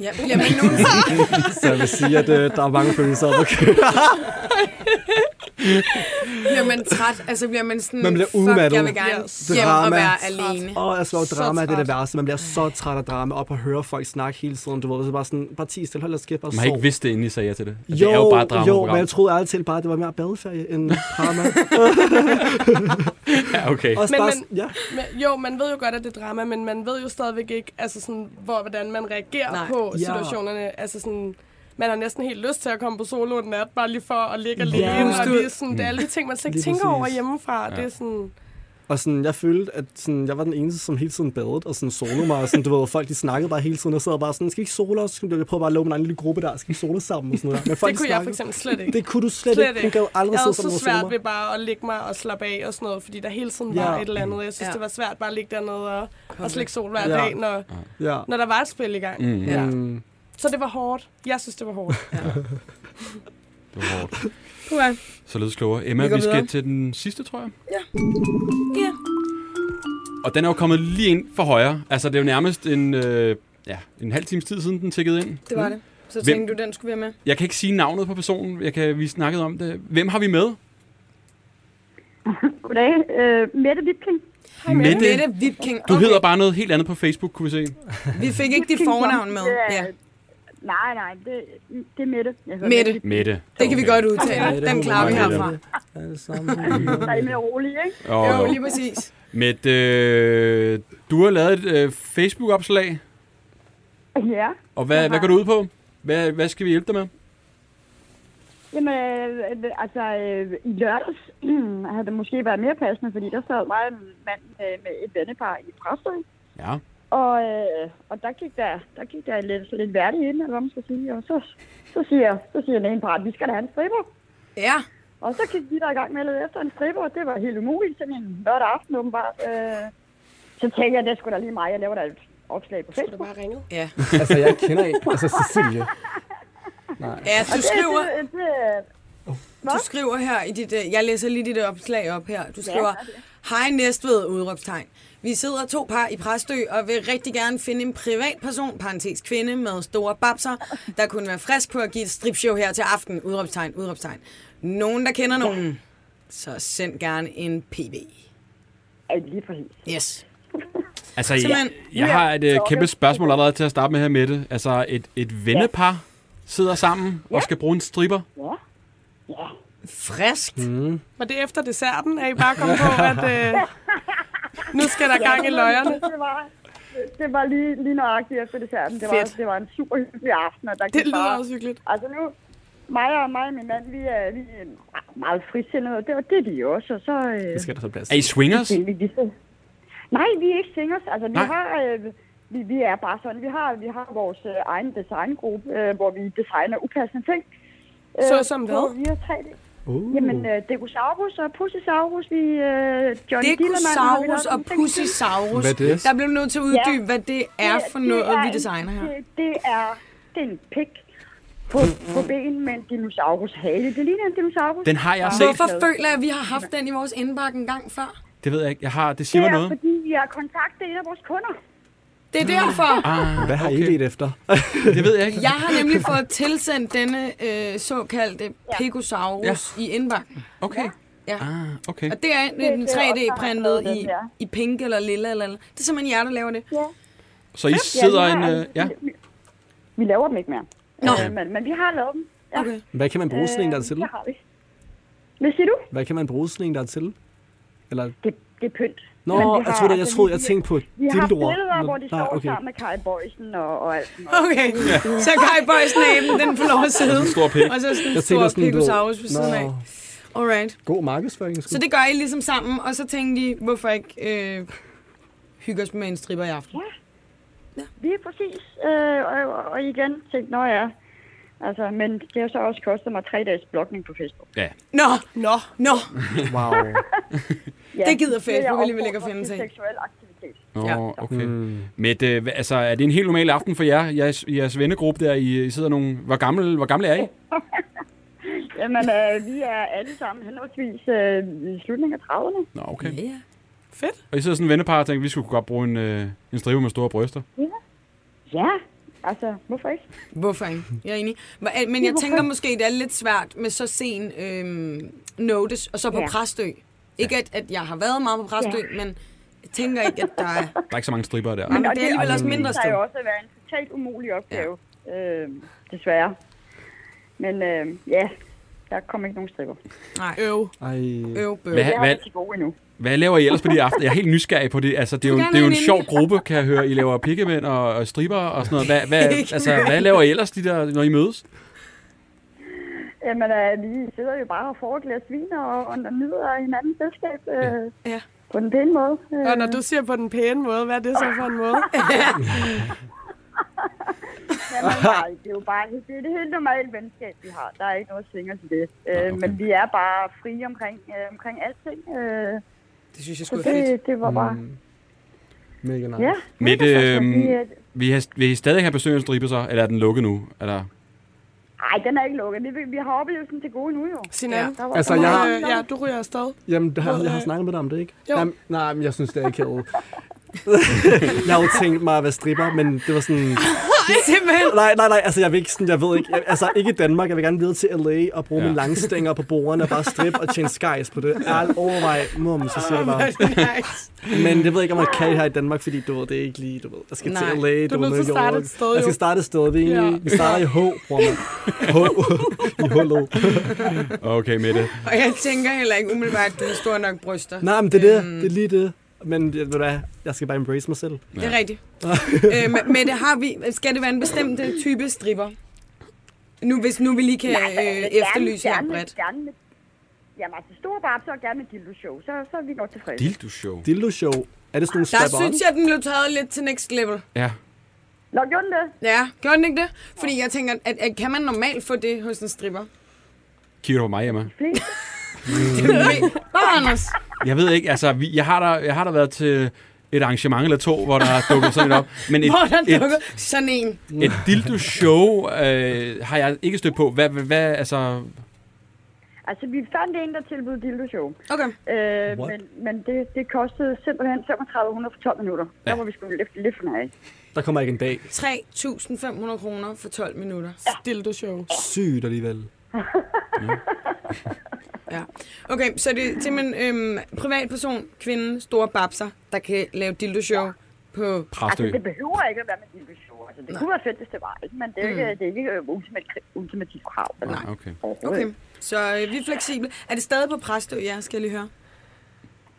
Ja, bliver man nogensinde...
Så jeg vil sige, at øh, der er mange følelser op at køre.
Bliver man træt? Altså bliver man sådan...
Man bliver
Fuck,
udmattet.
jeg vil gerne
Ja,
hjem og
drama.
være
Træt.
alene.
Åh, jeg slår
Så
drama er det der
træt.
værste. Man bliver så træt af drama op og høre folk snakke hele tiden. Du ved, så bare sådan, bare ti stille, hold da skæft, bare
Man har ikke
sov.
vidst det, inden I sagde ja til det.
Jo,
Altså, det er jo bare et
jo, men
dramaprogram.
jeg troede ærligt til bare, at det var mere badeferie end drama.
Ja, okay.
Også
Men-
bare,
men-
sådan- ja.
Men, jo, man ved jo godt, at det er drama, men man ved jo stadigvæk ikke, altså sådan, hvor, hvordan man reagerer Nej.
Nej.
på
Ja.
situationerne. Altså sådan, man har næsten helt lyst til at komme på solo en nat, bare lige for at ligge alene.
Ja. Mm.
Og lige sådan, det er alle de ting, man slet ikke
Lige
tænker
præcis.
over hjemmefra. Ja. Det er sådan,
Og sådan, jeg følte, at sådan, jeg var den eneste, som hele tiden badede og sådan solo mig. Og sådan, du ved, folk de snakkede bare hele tiden og sad bare sådan, skal vi ikke solo os? Jeg prøvede bare at lave min egen lille gruppe der, skal vi solo sammen og sådan noget. der. Men folk
det kunne jeg for
snakkede-
eksempel slet ikke.
Det kunne du slet,
Slet
slet ikke.
ikke.
Du kan jo aldrig
Jeg havde
sidde
så
sammen og
svært
solo
ved
mig.
bare at ligge mig og slappe af og sådan noget, fordi der hele tiden
Ja.
var et eller andet. Jeg synes,
Ja.
det var svært bare at ligge dernede og, og slikke sol hver
Ja.
dag, når,
Ja.
når der var et spil i gang. Mm.
Ja.
Mm.
Så det var hårdt. Jeg synes, det var hårdt.
Det var hårdt.
Puha.
Således klogere. Emma,
Vi
vi,
går
vi skal
videre.
til den sidste, tror jeg.
Ja.
Og den er jo kommet lige ind for højre. Altså, det er jo nærmest en, øh, ja, en halv times tid siden, den tikkede ind.
Det var det. Så
Hvem-
tænkte du, den skulle være med.
Jeg kan ikke sige navnet på personen. Jeg kan, vi snakkede om det. Hvem har vi med?
Goddag. Øh, Mette Witking.
Hej, Mette.
Mette Vipking.
Du okay. hedder bare noget helt andet på Facebook, kunne vi se.
Vi fik ikke dit fornavn med.
Det er-
Ja.
Nej, nej. Det, det er Mette. Jeg hedder
Mette.
Mette.
Det kan vi godt udtale. Den klarer vi
Mette.
herfra.
Ja, det er samme.
Mette. Er I mere rolig, ikke?
Og,
Jo, lige præcis.
Mette, øh, du har lavet et øh, Facebook-opslag.
Ja.
Og hvad, hvad går du ud på? Hvad, hvad skal vi hjælpe dig med?
Jamen, øh, altså, øh, i lørdags havde det måske været mere passende, fordi der sad mig og en mand øh, med et vennepar i Præstø.
Ja.
Og, øh, og der gik der, der, gik der lidt, lidt værdigt ind, eller hvad man skal sige. Og så, så siger, så siger den ene part, vi skal da have en stripper.
Ja.
Og så gik de der i gang med at lede efter en stripper, og det var helt umuligt sådan en lørdag aften åbenbart. Øh, så tænkte jeg, det skulle da lige mig, jeg laver da et opslag på
Du
Facebook.
bare ringet.
Ja.
altså, jeg kender ikke. Altså, Cecilie.
ja, du skriver,
Det, det, det,
du skriver her i dit... øh, Jeg læser lige dit opslag op her. Du skriver,
gør
Hej Næstved, udråbstegn. Vi sidder to par i Præstø og vil rigtig gerne finde en privatperson, parentes kvinde, med store babser, der kunne være frisk på at give et stripshow her til aften, udråbstegn, udråbstegn. Nogen, der kender nogen, så send gerne en PB.
er lige præcis.
Yes.
Altså, jeg,
Simpelthen.
jeg har et øh, kæmpe spørgsmål allerede til at starte med her, Mette. Altså, et, et vennepar sidder sammen og skal bruge en stripper.
Frisk.
Var det efter desserten, at I bare kom på, at øh, nu skal der gang i løjerne?
Det var, det var lige, lige nøjagtigt efter desserten. Det var,
Fedt.
det var en super hyggelig aften, og der
Det
gik
lyder
bare...
også hyggeligt.
Altså nu, mig og, mig og min mand, vi er, vi er meget frisindede, og det, og det er de også. Og så, øh,
Det skal der så plads.
Er I swingers?
Vil vi lige Nej, vi er ikke singers. Altså, vi
Nej.
har... Øh, vi, vi er bare sådan. Vi har, vi har vores øh, egen designgruppe, øh, hvor vi designer upassende ting. Øh,
Såsom hvad?
på- Vi har tre det.
Uh.
Jamen, øh, Decosaurus og Pussysaurus, vi... Øh, Johnny Dillermand har vi
Dekosaurus
lavet
og
nogle ting til.
Pussysaurus.
Hvad er det?
Der blev vi nødt til at uddybe, hvad det er
Det-
for
det
noget,
er
vi
en-
designer her.
Det, det, er, det er en pik på, på ben med en dinosaurus hale. Det ligner en dinosaurus.
Den har jeg set.
Hvorfor føler jeg, at vi har haft den i vores indbakke en gang før?
Det ved jeg ikke. Jeg har, det
det
siger mig
er,
noget.
fordi vi har kontaktet en af vores kunder.
Det er derfor.
Hvad har I let efter?
Det ved jeg ikke.
Jeg har nemlig fået tilsendt denne øh, såkaldte Pegosaurus ja. i indbakken.
Okay.
Ja.
Ah, okay.
Og det er en
det er også, der har lavet
3D-printet
den
i,
der.
i pink eller lilla eller andet. Det er simpelthen jer, der laver det.
Så I sidder en... Øh, ja.
Vi, vi laver dem ikke mere.
Nå.
Øh, men, men vi har lavet dem. Ja.
Okay.
Hvad kan man bruge sådan en der
Øh,
til?
det har vi. Hvad siger du?
Hvad kan man bruge sådan en der til? Eller
Det, det er pynt.
Nå,
Men vi
jeg troede, jeg,
altså,
troede, jeg
vi-
tænkte på
Vi har
dildoer.
billeder, hvor de
Nej,
står
okay.
sammen med Kai Bøjsen og, og alt sådan noget.
Okay, så Kai Bøjsen aben, den får lov at sidde.
Og så en stor pik.
Og så sådan en
Jeg tænker
stor
sådan, du ved-
pikosaurus ved
Nå.
siden af. Alright.
God markedsføring.
Så det gør I ligesom sammen, og så tænkte I, hvorfor ikke øh, hygge os med en stripper i aften?
Lige præcis. Øh, og, og- og, igen tænkte, nå ja. Altså, men det har så også kostet mig tre dages blokning på Facebook.
Ja.
Nå, nå, nå.
Wow.
Ja,
Det gider
er
Facebook
jeg
alligevel ikke at
opfordret
finde sig
til
i.
Seksuel aktivitet.
Nå, ja. okay.
Mm.
Mette, hva- altså, er det en helt normal aften for jer? Jeres, jeres vennegruppe der, I, I sidder nogle... Hvor gammel, hvor gammel er I?
Jamen, øh, vi er alle sammen henholdsvis øh, i slutningen af 30'erne.
Nå, okay.
Ja, ja.
Fedt.
Og I sidder sådan en vennepar og tænker, vi skulle godt bruge en, øh, en strive med store bryster.
Ja, altså, hvorfor ikke?
Hvorfor ikke? Jeg er enig. Men- øh, Men jeg tænker måske, det er lidt svært med så sen øhm, notice, og så på
Ja.
Præstø. Ikke at, at jeg har været meget på Præstø, men jeg tænker ikke, at der er...
Der er ikke så mange stripper der.
Men det er
Og
alligevel også mindre
Det er
sted.
jo også at være en totalt umulig opgave, ja. øh, desværre. Men øh, ja, der kom ikke nogen stripper.
Nej,
Øv.
Ej.
øv, bøv.
Hvad,
Jeg har
hvad,
været til gode endnu.
hvad laver I ellers på de aften? Jeg er helt nysgerrig på det. Altså, det er jo,
Du kan
det er jo en
have
sjov
en
gruppe, kan jeg høre. I laver pikkemænd og, og stripper og sådan noget. Hvad, hvad, altså, hvad laver I ellers, de der, når I mødes?
Jamen, øh, vi sidder jo bare og får et glas vin og, og nyder hinandens selskab øh,
Ja.
ja. på den pæne måde. Øh,
Og når du siger på den pæne måde, hvad er det så for en måde?
jamen, Øh, nej, det er jo bare det, er det helt normale venskab, vi har. Der er ikke noget svinger til det. Øh, okay. Men vi er bare frie omkring, øh, omkring alting. Øh,
Det synes jeg
så
skulle er fedt.
det, det var bare...
Mm. Mega nice.
Ja,
Mette,
vi,
øh,
øh,
vi har, vil I stadig have besøg af en stribe så? Eller er den lukket nu? Eller?
Ej, den er ikke lukket. Vi, vi har oplevelsen til gode nu jo.
Sinan,
Ja.
ja.
Altså,
du,
jeg har,
øh, ja, du ryger afsted.
jamen, det har, jeg har
Øh.
snakket med dig om det, ikke?
Jo.
Nej, nej, men jeg synes, det er akavet. jeg har jo tænkt mig at være stripper, men det var sådan...
Simpelthen.
Nej, nej, nej, altså jeg vil ikke sådan, jeg ved ikke, jeg, altså ikke i Danmark, jeg vil gerne videre til LA og bruge
Ja.
ja. mine langstænger på bordene og bare strip og tjene skies på det. Ærligt overvej, mum, så siger jeg bare.
Nice.
Men det ved jeg ikke, om man kan her i Danmark, fordi du ved, det er ikke lige, du ved, jeg skal
Nej,
til LA,
du er nødt til at
New
starte
York.
et sted,
Jeg
jo.
skal starte et sted, vi,
Ja.
ja. vi starter i H, bror man. H, i hullet.
Okay, Mette.
Og jeg tænker heller ikke umiddelbart, at du har store nok bryster.
Nej, men det er
Øhm.
det, det er lige det. Men jeg, ved du hvad, jeg skal bare embrace mig selv.
Det er rigtigt. øh, men- men det har vi, skal det være en bestemt øh, type stripper? Nu, hvis nu vi lige kan øh, efterlyse her
gerne, med-
bredt.
Gerne med, jamen, altså store babser og gerne med dildo show, så, så er vi godt tilfredse.
Dildo show.
Dildo show. Er det sådan nogle
Der
strap
synes jeg, den blev taget lidt til next level.
Ja.
Nå, gjorde den det?
Ja, gjorde den ikke det? Fordi jeg tænker, at, at kan man normalt få det hos en stripper?
Kigger du på mig, Emma?
Bare Anders.
Jeg ved ikke, altså, vi, jeg, har der, jeg har der været til et arrangement eller to, hvor der er dukket sådan et op. Men et,
Hvor der
et,
dukker sådan en.
et dildo-show øh, har jeg ikke stødt på. Hvad, hvad, hvad altså...
Altså, vi fandt en, der tilbød dildo show.
Okay.
Øh,
What?
men men det, det kostede simpelthen 3500 for 12 minutter. Ja. Der var vi sgu lidt, lidt for nær.
Der kommer ikke en dag.
3.500 kroner for 12 minutter.
Dildo show.
Sygt alligevel.
Ja. Okay, så det er simpelthen øhm, privatperson, kvinde, store babser, der kan lave dildo-show på...
Altså,
Præstø.
det behøver ikke at være med dildo show. Altså, det kunne være fedt, hvis det var, ikke? Men det er ikke, det er ikke øh, ultimat- ultimativt krav. Altså, Eller
Nej.
Okay.
overhovedet.
Okay, så øh, vi er fleksible. Er det stadig på Præstø, ja, skal jeg lige høre?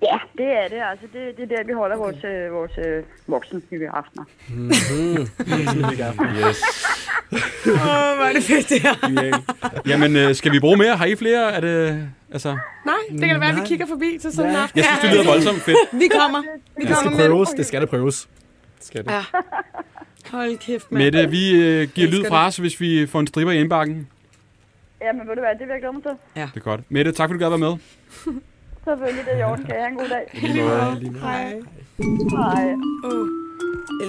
Ja, det er det. Altså, det, det er der, vi holder okay. vores, øh, vores øh, voksenhygge aftener.
Yes.
Åh, oh, hvor er det fedt det her.
Jamen, øh, skal vi bruge mere? Har I flere? Er det, altså,
Nej, det kan da være, at vi kigger forbi til sådan en aften.
jeg synes, det lyder voldsomt fedt.
Vi kommer. Vi
Det skal
kommer med det.
prøves, det skal det prøves. Skal det.
Ja. Hold kæft, mand.
Mette, vi øh, giver lyd
Elsker
fra os, hvis vi får en stripper i indbakken.
Ja, men ved du hvad, det vil jeg glæde mig til.
Det er godt. Mette, tak fordi du gad at være med.
Selvfølgelig, det er i orden. Kan jeg have en god dag?
Hej.
Hej.
Åh,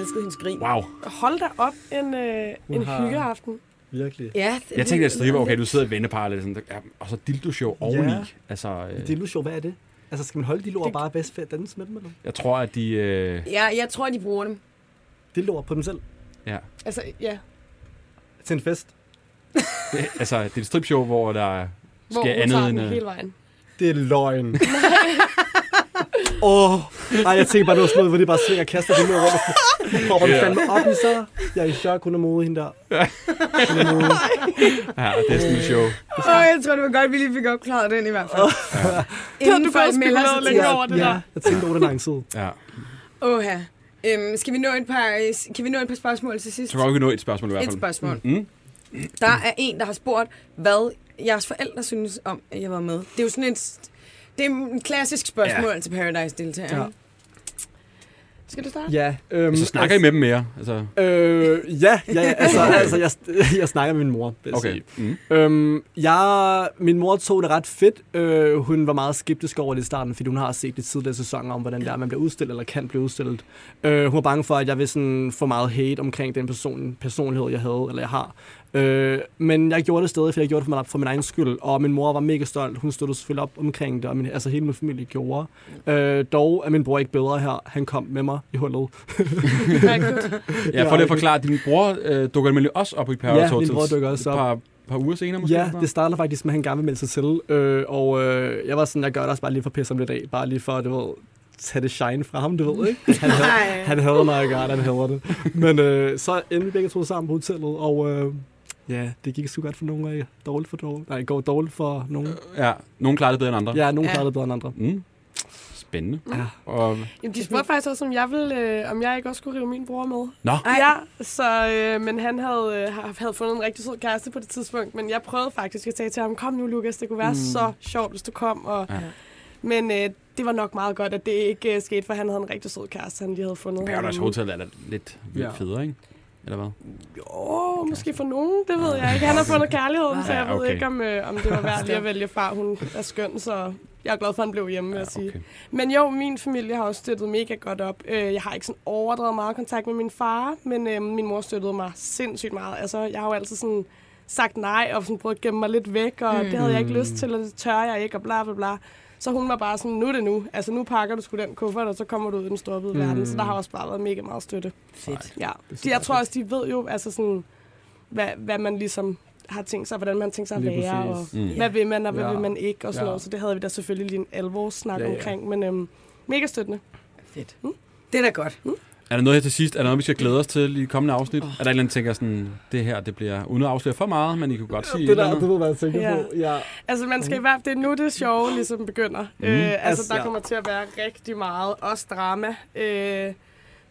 elskede hendes grin.
Wow.
Hold da op en, øh, en
Uha.
hyggeaften.
Virkelig.
Ja, det-
Jeg tænkte, at stripper, okay, du sidder i vendepar, eller sådan, ja, og så dildo-show oveni.
Ja.
Altså, øh,
Dildo show, hvad er det? Altså, skal man holde dildoer og bare bedst fedt danse med dem? Eller?
jeg tror, at de... Øh,
Ja, jeg tror, de bruger dem.
Dildoer på dem selv?
ja.
Altså, ja.
Til en fest?
Det- Altså, det er et stripshow, hvor der
Hvor
sker
hun tager
andet
den
end... øh,
hele vejen.
Det er løgn. Åh, oh, nej, jeg tænkte bare, det var sådan noget, hvor de bare svinger og kaster det ned rundt. og Hopper den
Ja.
fandme op i sig. Jeg er i chok, hun er modig, hende der. Hun er modig.
Ja, det er sådan et show.
Åh, jeg tror, det var godt, vi lige fik opklaret den i hvert fald. Inden
du
folk
godt
melder sig
spekuleret
til.
længe over det der.
ja, jeg tænkte over det lang tid.
Ja.
Åha. Øhm, skal vi nå et par, øh, kan vi nå et par spørgsmål til sidst?
Så kan vi nå et spørgsmål i hvert
Et
fald.
spørgsmål.
Mm.
Der er en, der har spurgt, hvad jeres forældre synes om, at jeg var med. Det er jo sådan et, det er en klassisk spørgsmål ja. til Paradise-deltagere.
Ja.
Ja. Skal du starte?
Ja, øhm,
Så snakker I med dem mere? Altså,
Øh, ja, ja, ja, altså, altså jeg, jeg snakker med min mor, vil jeg
okay.
sige.
Mm.
Øhm, jeg, min mor tog det ret fedt. Øh, hun var meget skeptisk over det i starten, fordi hun har set det tidligere sæsoner om, hvordan det er, man bliver udstillet eller kan blive udstillet. Øh, hun var bange for, at jeg ville sådan få meget hate omkring den person, personlighed, jeg havde eller jeg har. Øh, men jeg gjorde det stadig, for jeg gjorde det for min, for min egen skyld, og min mor var mega stolt. Hun stod selvfølgelig op omkring det, og min, altså hele min familie gjorde. Øh, dog er min bror ikke bedre her. Han kom med mig i hullet.
Mm. Ja, for lige at forklare, din bror øh, dukker nemlig også op i Paradise
Ja,
Hotel.
min bror dukker også
Et par, par uger senere måske?
Ja,
eller
det
sådan
starter faktisk med, at han gerne vil melde sig til. Øh, og øh, jeg var sådan, jeg gør det også bare lige for at pisse om lidt af. Bare lige for, at du ved, tage det shine fra ham, du ved, ikke? Han, havde,
Nej.
han hader mig, jeg han hader det. Men øh, så endte vi begge to sammen på hotellet, og øh, ja, det gik sgu godt for nogen af jer. Dårligt for dårligt. Nej, går dårligt for nogen.
noget? Ja, nogen klarer det bedre end andre.
Ja, nogen
Ja.
klarede det bedre end andre.
Mm. Spændende.
Ja.
Og,
Jamen, de spurgte faktisk også, om jeg, ville, øh, om jeg ikke også skulle rive min bror med.
nå,
Ej.
Ja, så, øh, men han havde, øh, har- havde fundet en rigtig sød kæreste på det tidspunkt, men jeg prøvede faktisk at sige til ham, kom nu Lukas, det kunne være mm. så sjovt, hvis du kom. Og,
Ja.
ja. Men øh, det var nok meget godt, at det ikke øh, skete, for han havde en rigtig sød kæreste, han lige havde fundet.
Paradise
herhjemme.
Hotel er da lidt
Ja.
ja. federe, ikke? Eller hvad?
Jo, måske for nogen, det ved jeg ikke. Han har fundet kærligheden, så jeg
Ah, Ja,
ved
okay.
ikke, om, øh, om det var værd lige at vælge fra. Hun er skøn, så jeg er glad for, at han blev hjemme, vil jeg sige.
okay.
Men jo, min familie har også støttet mega godt op. Øh, Jeg har ikke sådan overdrevet meget kontakt med min far, men øh, min mor støttede mig sindssygt meget. Altså, jeg har jo altid sådan sagt nej og sådan prøvet at gemme mig lidt væk, og mm. det havde jeg
Hmm.
ikke lyst til, og det tør jeg ikke, og bla bla bla. Så hun var bare sådan, nu er det nu. Altså, nu pakker du sgu den kuffert, og så kommer du ud i den store
Hmm.
hvide mm. verden. Så der har også bare været mega meget støtte.
Fedt.
Ja, de, jeg tror også, de ved jo, altså sådan, hvad, hvad man ligesom har tænkt sig, hvordan man tænker sig at
Lige
være, og
præcis.
Mm.
hvad vil man, og hvad
Ja.
ja. vil man ikke, og sådan
Ja.
ja. noget. Så det havde vi da selvfølgelig lige en alvorssnak
Ja,
ja,
ja.
ja. omkring, men øhm, mega støttende.
Fedt. Mm. Det er da godt.
Er der noget her til sidst? Er der noget, vi skal glæde os til i de kommende afsnit? Oh. Er der et eller andet, tænker sådan, det her, det bliver, uden at afsløre for meget, men I kunne godt sige
Det
et eller
der,
andet.
du ved, hvad jeg tænker
Ja.
på. Ja.
Altså, man skal i hvert fald, det er nu, det sjove ligesom begynder. Mm. Øh, altså,
Mm. Altså,
der
ja.
kommer til at være rigtig meget, også drama. Øh,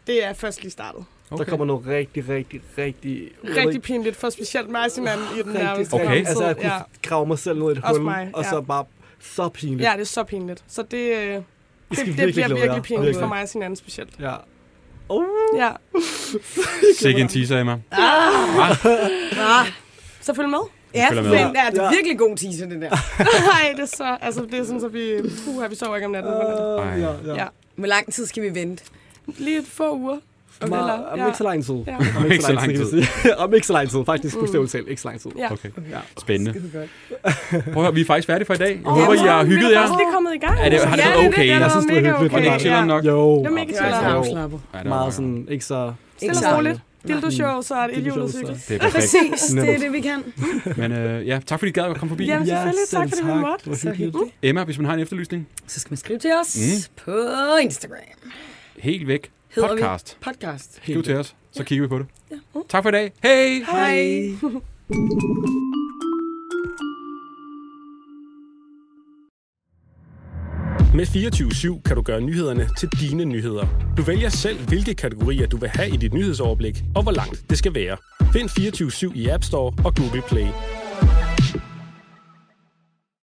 det er først lige startet.
Okay. Der kommer noget rigtig, rigtig, rigtig...
Rigtig pinligt, for specielt mig og hinanden i den nærmeste
Okay.
fremtid.
Altså, jeg kunne
ja.
grave mig selv ned i et
Også
hul,
mig,
og
ja.
så bare så pinligt.
ja, det er så pinligt. Så det, øh, det,
I
det
skal
bliver
glæde jer.
virkelig pinligt for
Virkelig.
mig og hinanden specielt.
Ja. Uh.
Ja.
Sikke en teaser, Emma.
Ah,
Så følg med.
ja,
følger med.
men ja, det er altså
Ja.
virkelig god teaser, det der.
Nej, det er så... Altså, det er sådan, så vi... Puh, vi sover ikke om natten. Uh,
Uh, ja, ja.
ja.
Hvor lang tid skal vi vente?
Lige et få uger.
Okay, Meget, om ikke så lang tid.
Ja. Mm.
Om ikke så lang tid. kan vi sige. om ikke så lang tid, faktisk bestemt selv. Ikke så lang tid.
Ja.
Okay. Spændende. Prøv at høre, vi er faktisk færdige for i dag. Jeg
Åh,
håber, I har
vi
hygget
er
jer.
faktisk lige kommet i gang.
Er det- har det
Ja,
været okay?
Det, det,
Jeg
synes, det var mega okay.
Var det ikke chilleren nok?
Jo.
Det var mega
Det er
chilleren.
altså
Jo.
afslappet.
Ja, det var
Meget
godt.
sådan, ikke så...
Ikke
Stille
så
og roligt. Dildo show, så er det et
Dildo show,
julecykel.
så-
Det er perfekt.
Præcis, det er
Netop.
det, vi kan.
Men øh, ja, tak fordi I gad at komme forbi.
Jamen selvfølgelig.
selv
Tak fordi vi måtte.
Det var
Så
hyggeligt.
hyggeligt.
Emma, hvis man har en efterlysning,
Så skal man skrive til os
Mm.
på Instagram.
helt væk.
Hedder
Podcast.
vi podcast.
Skriv
Helt
til os, så kigger vi på det. Tak for i dag. Hej!
Hej.
Med 24-7 kan du gøre nyhederne til dine nyheder. Du vælger selv, hvilke kategorier du vil have i dit nyhedsoverblik, og hvor langt det skal være. Find 24-7 i App Store og Google Play.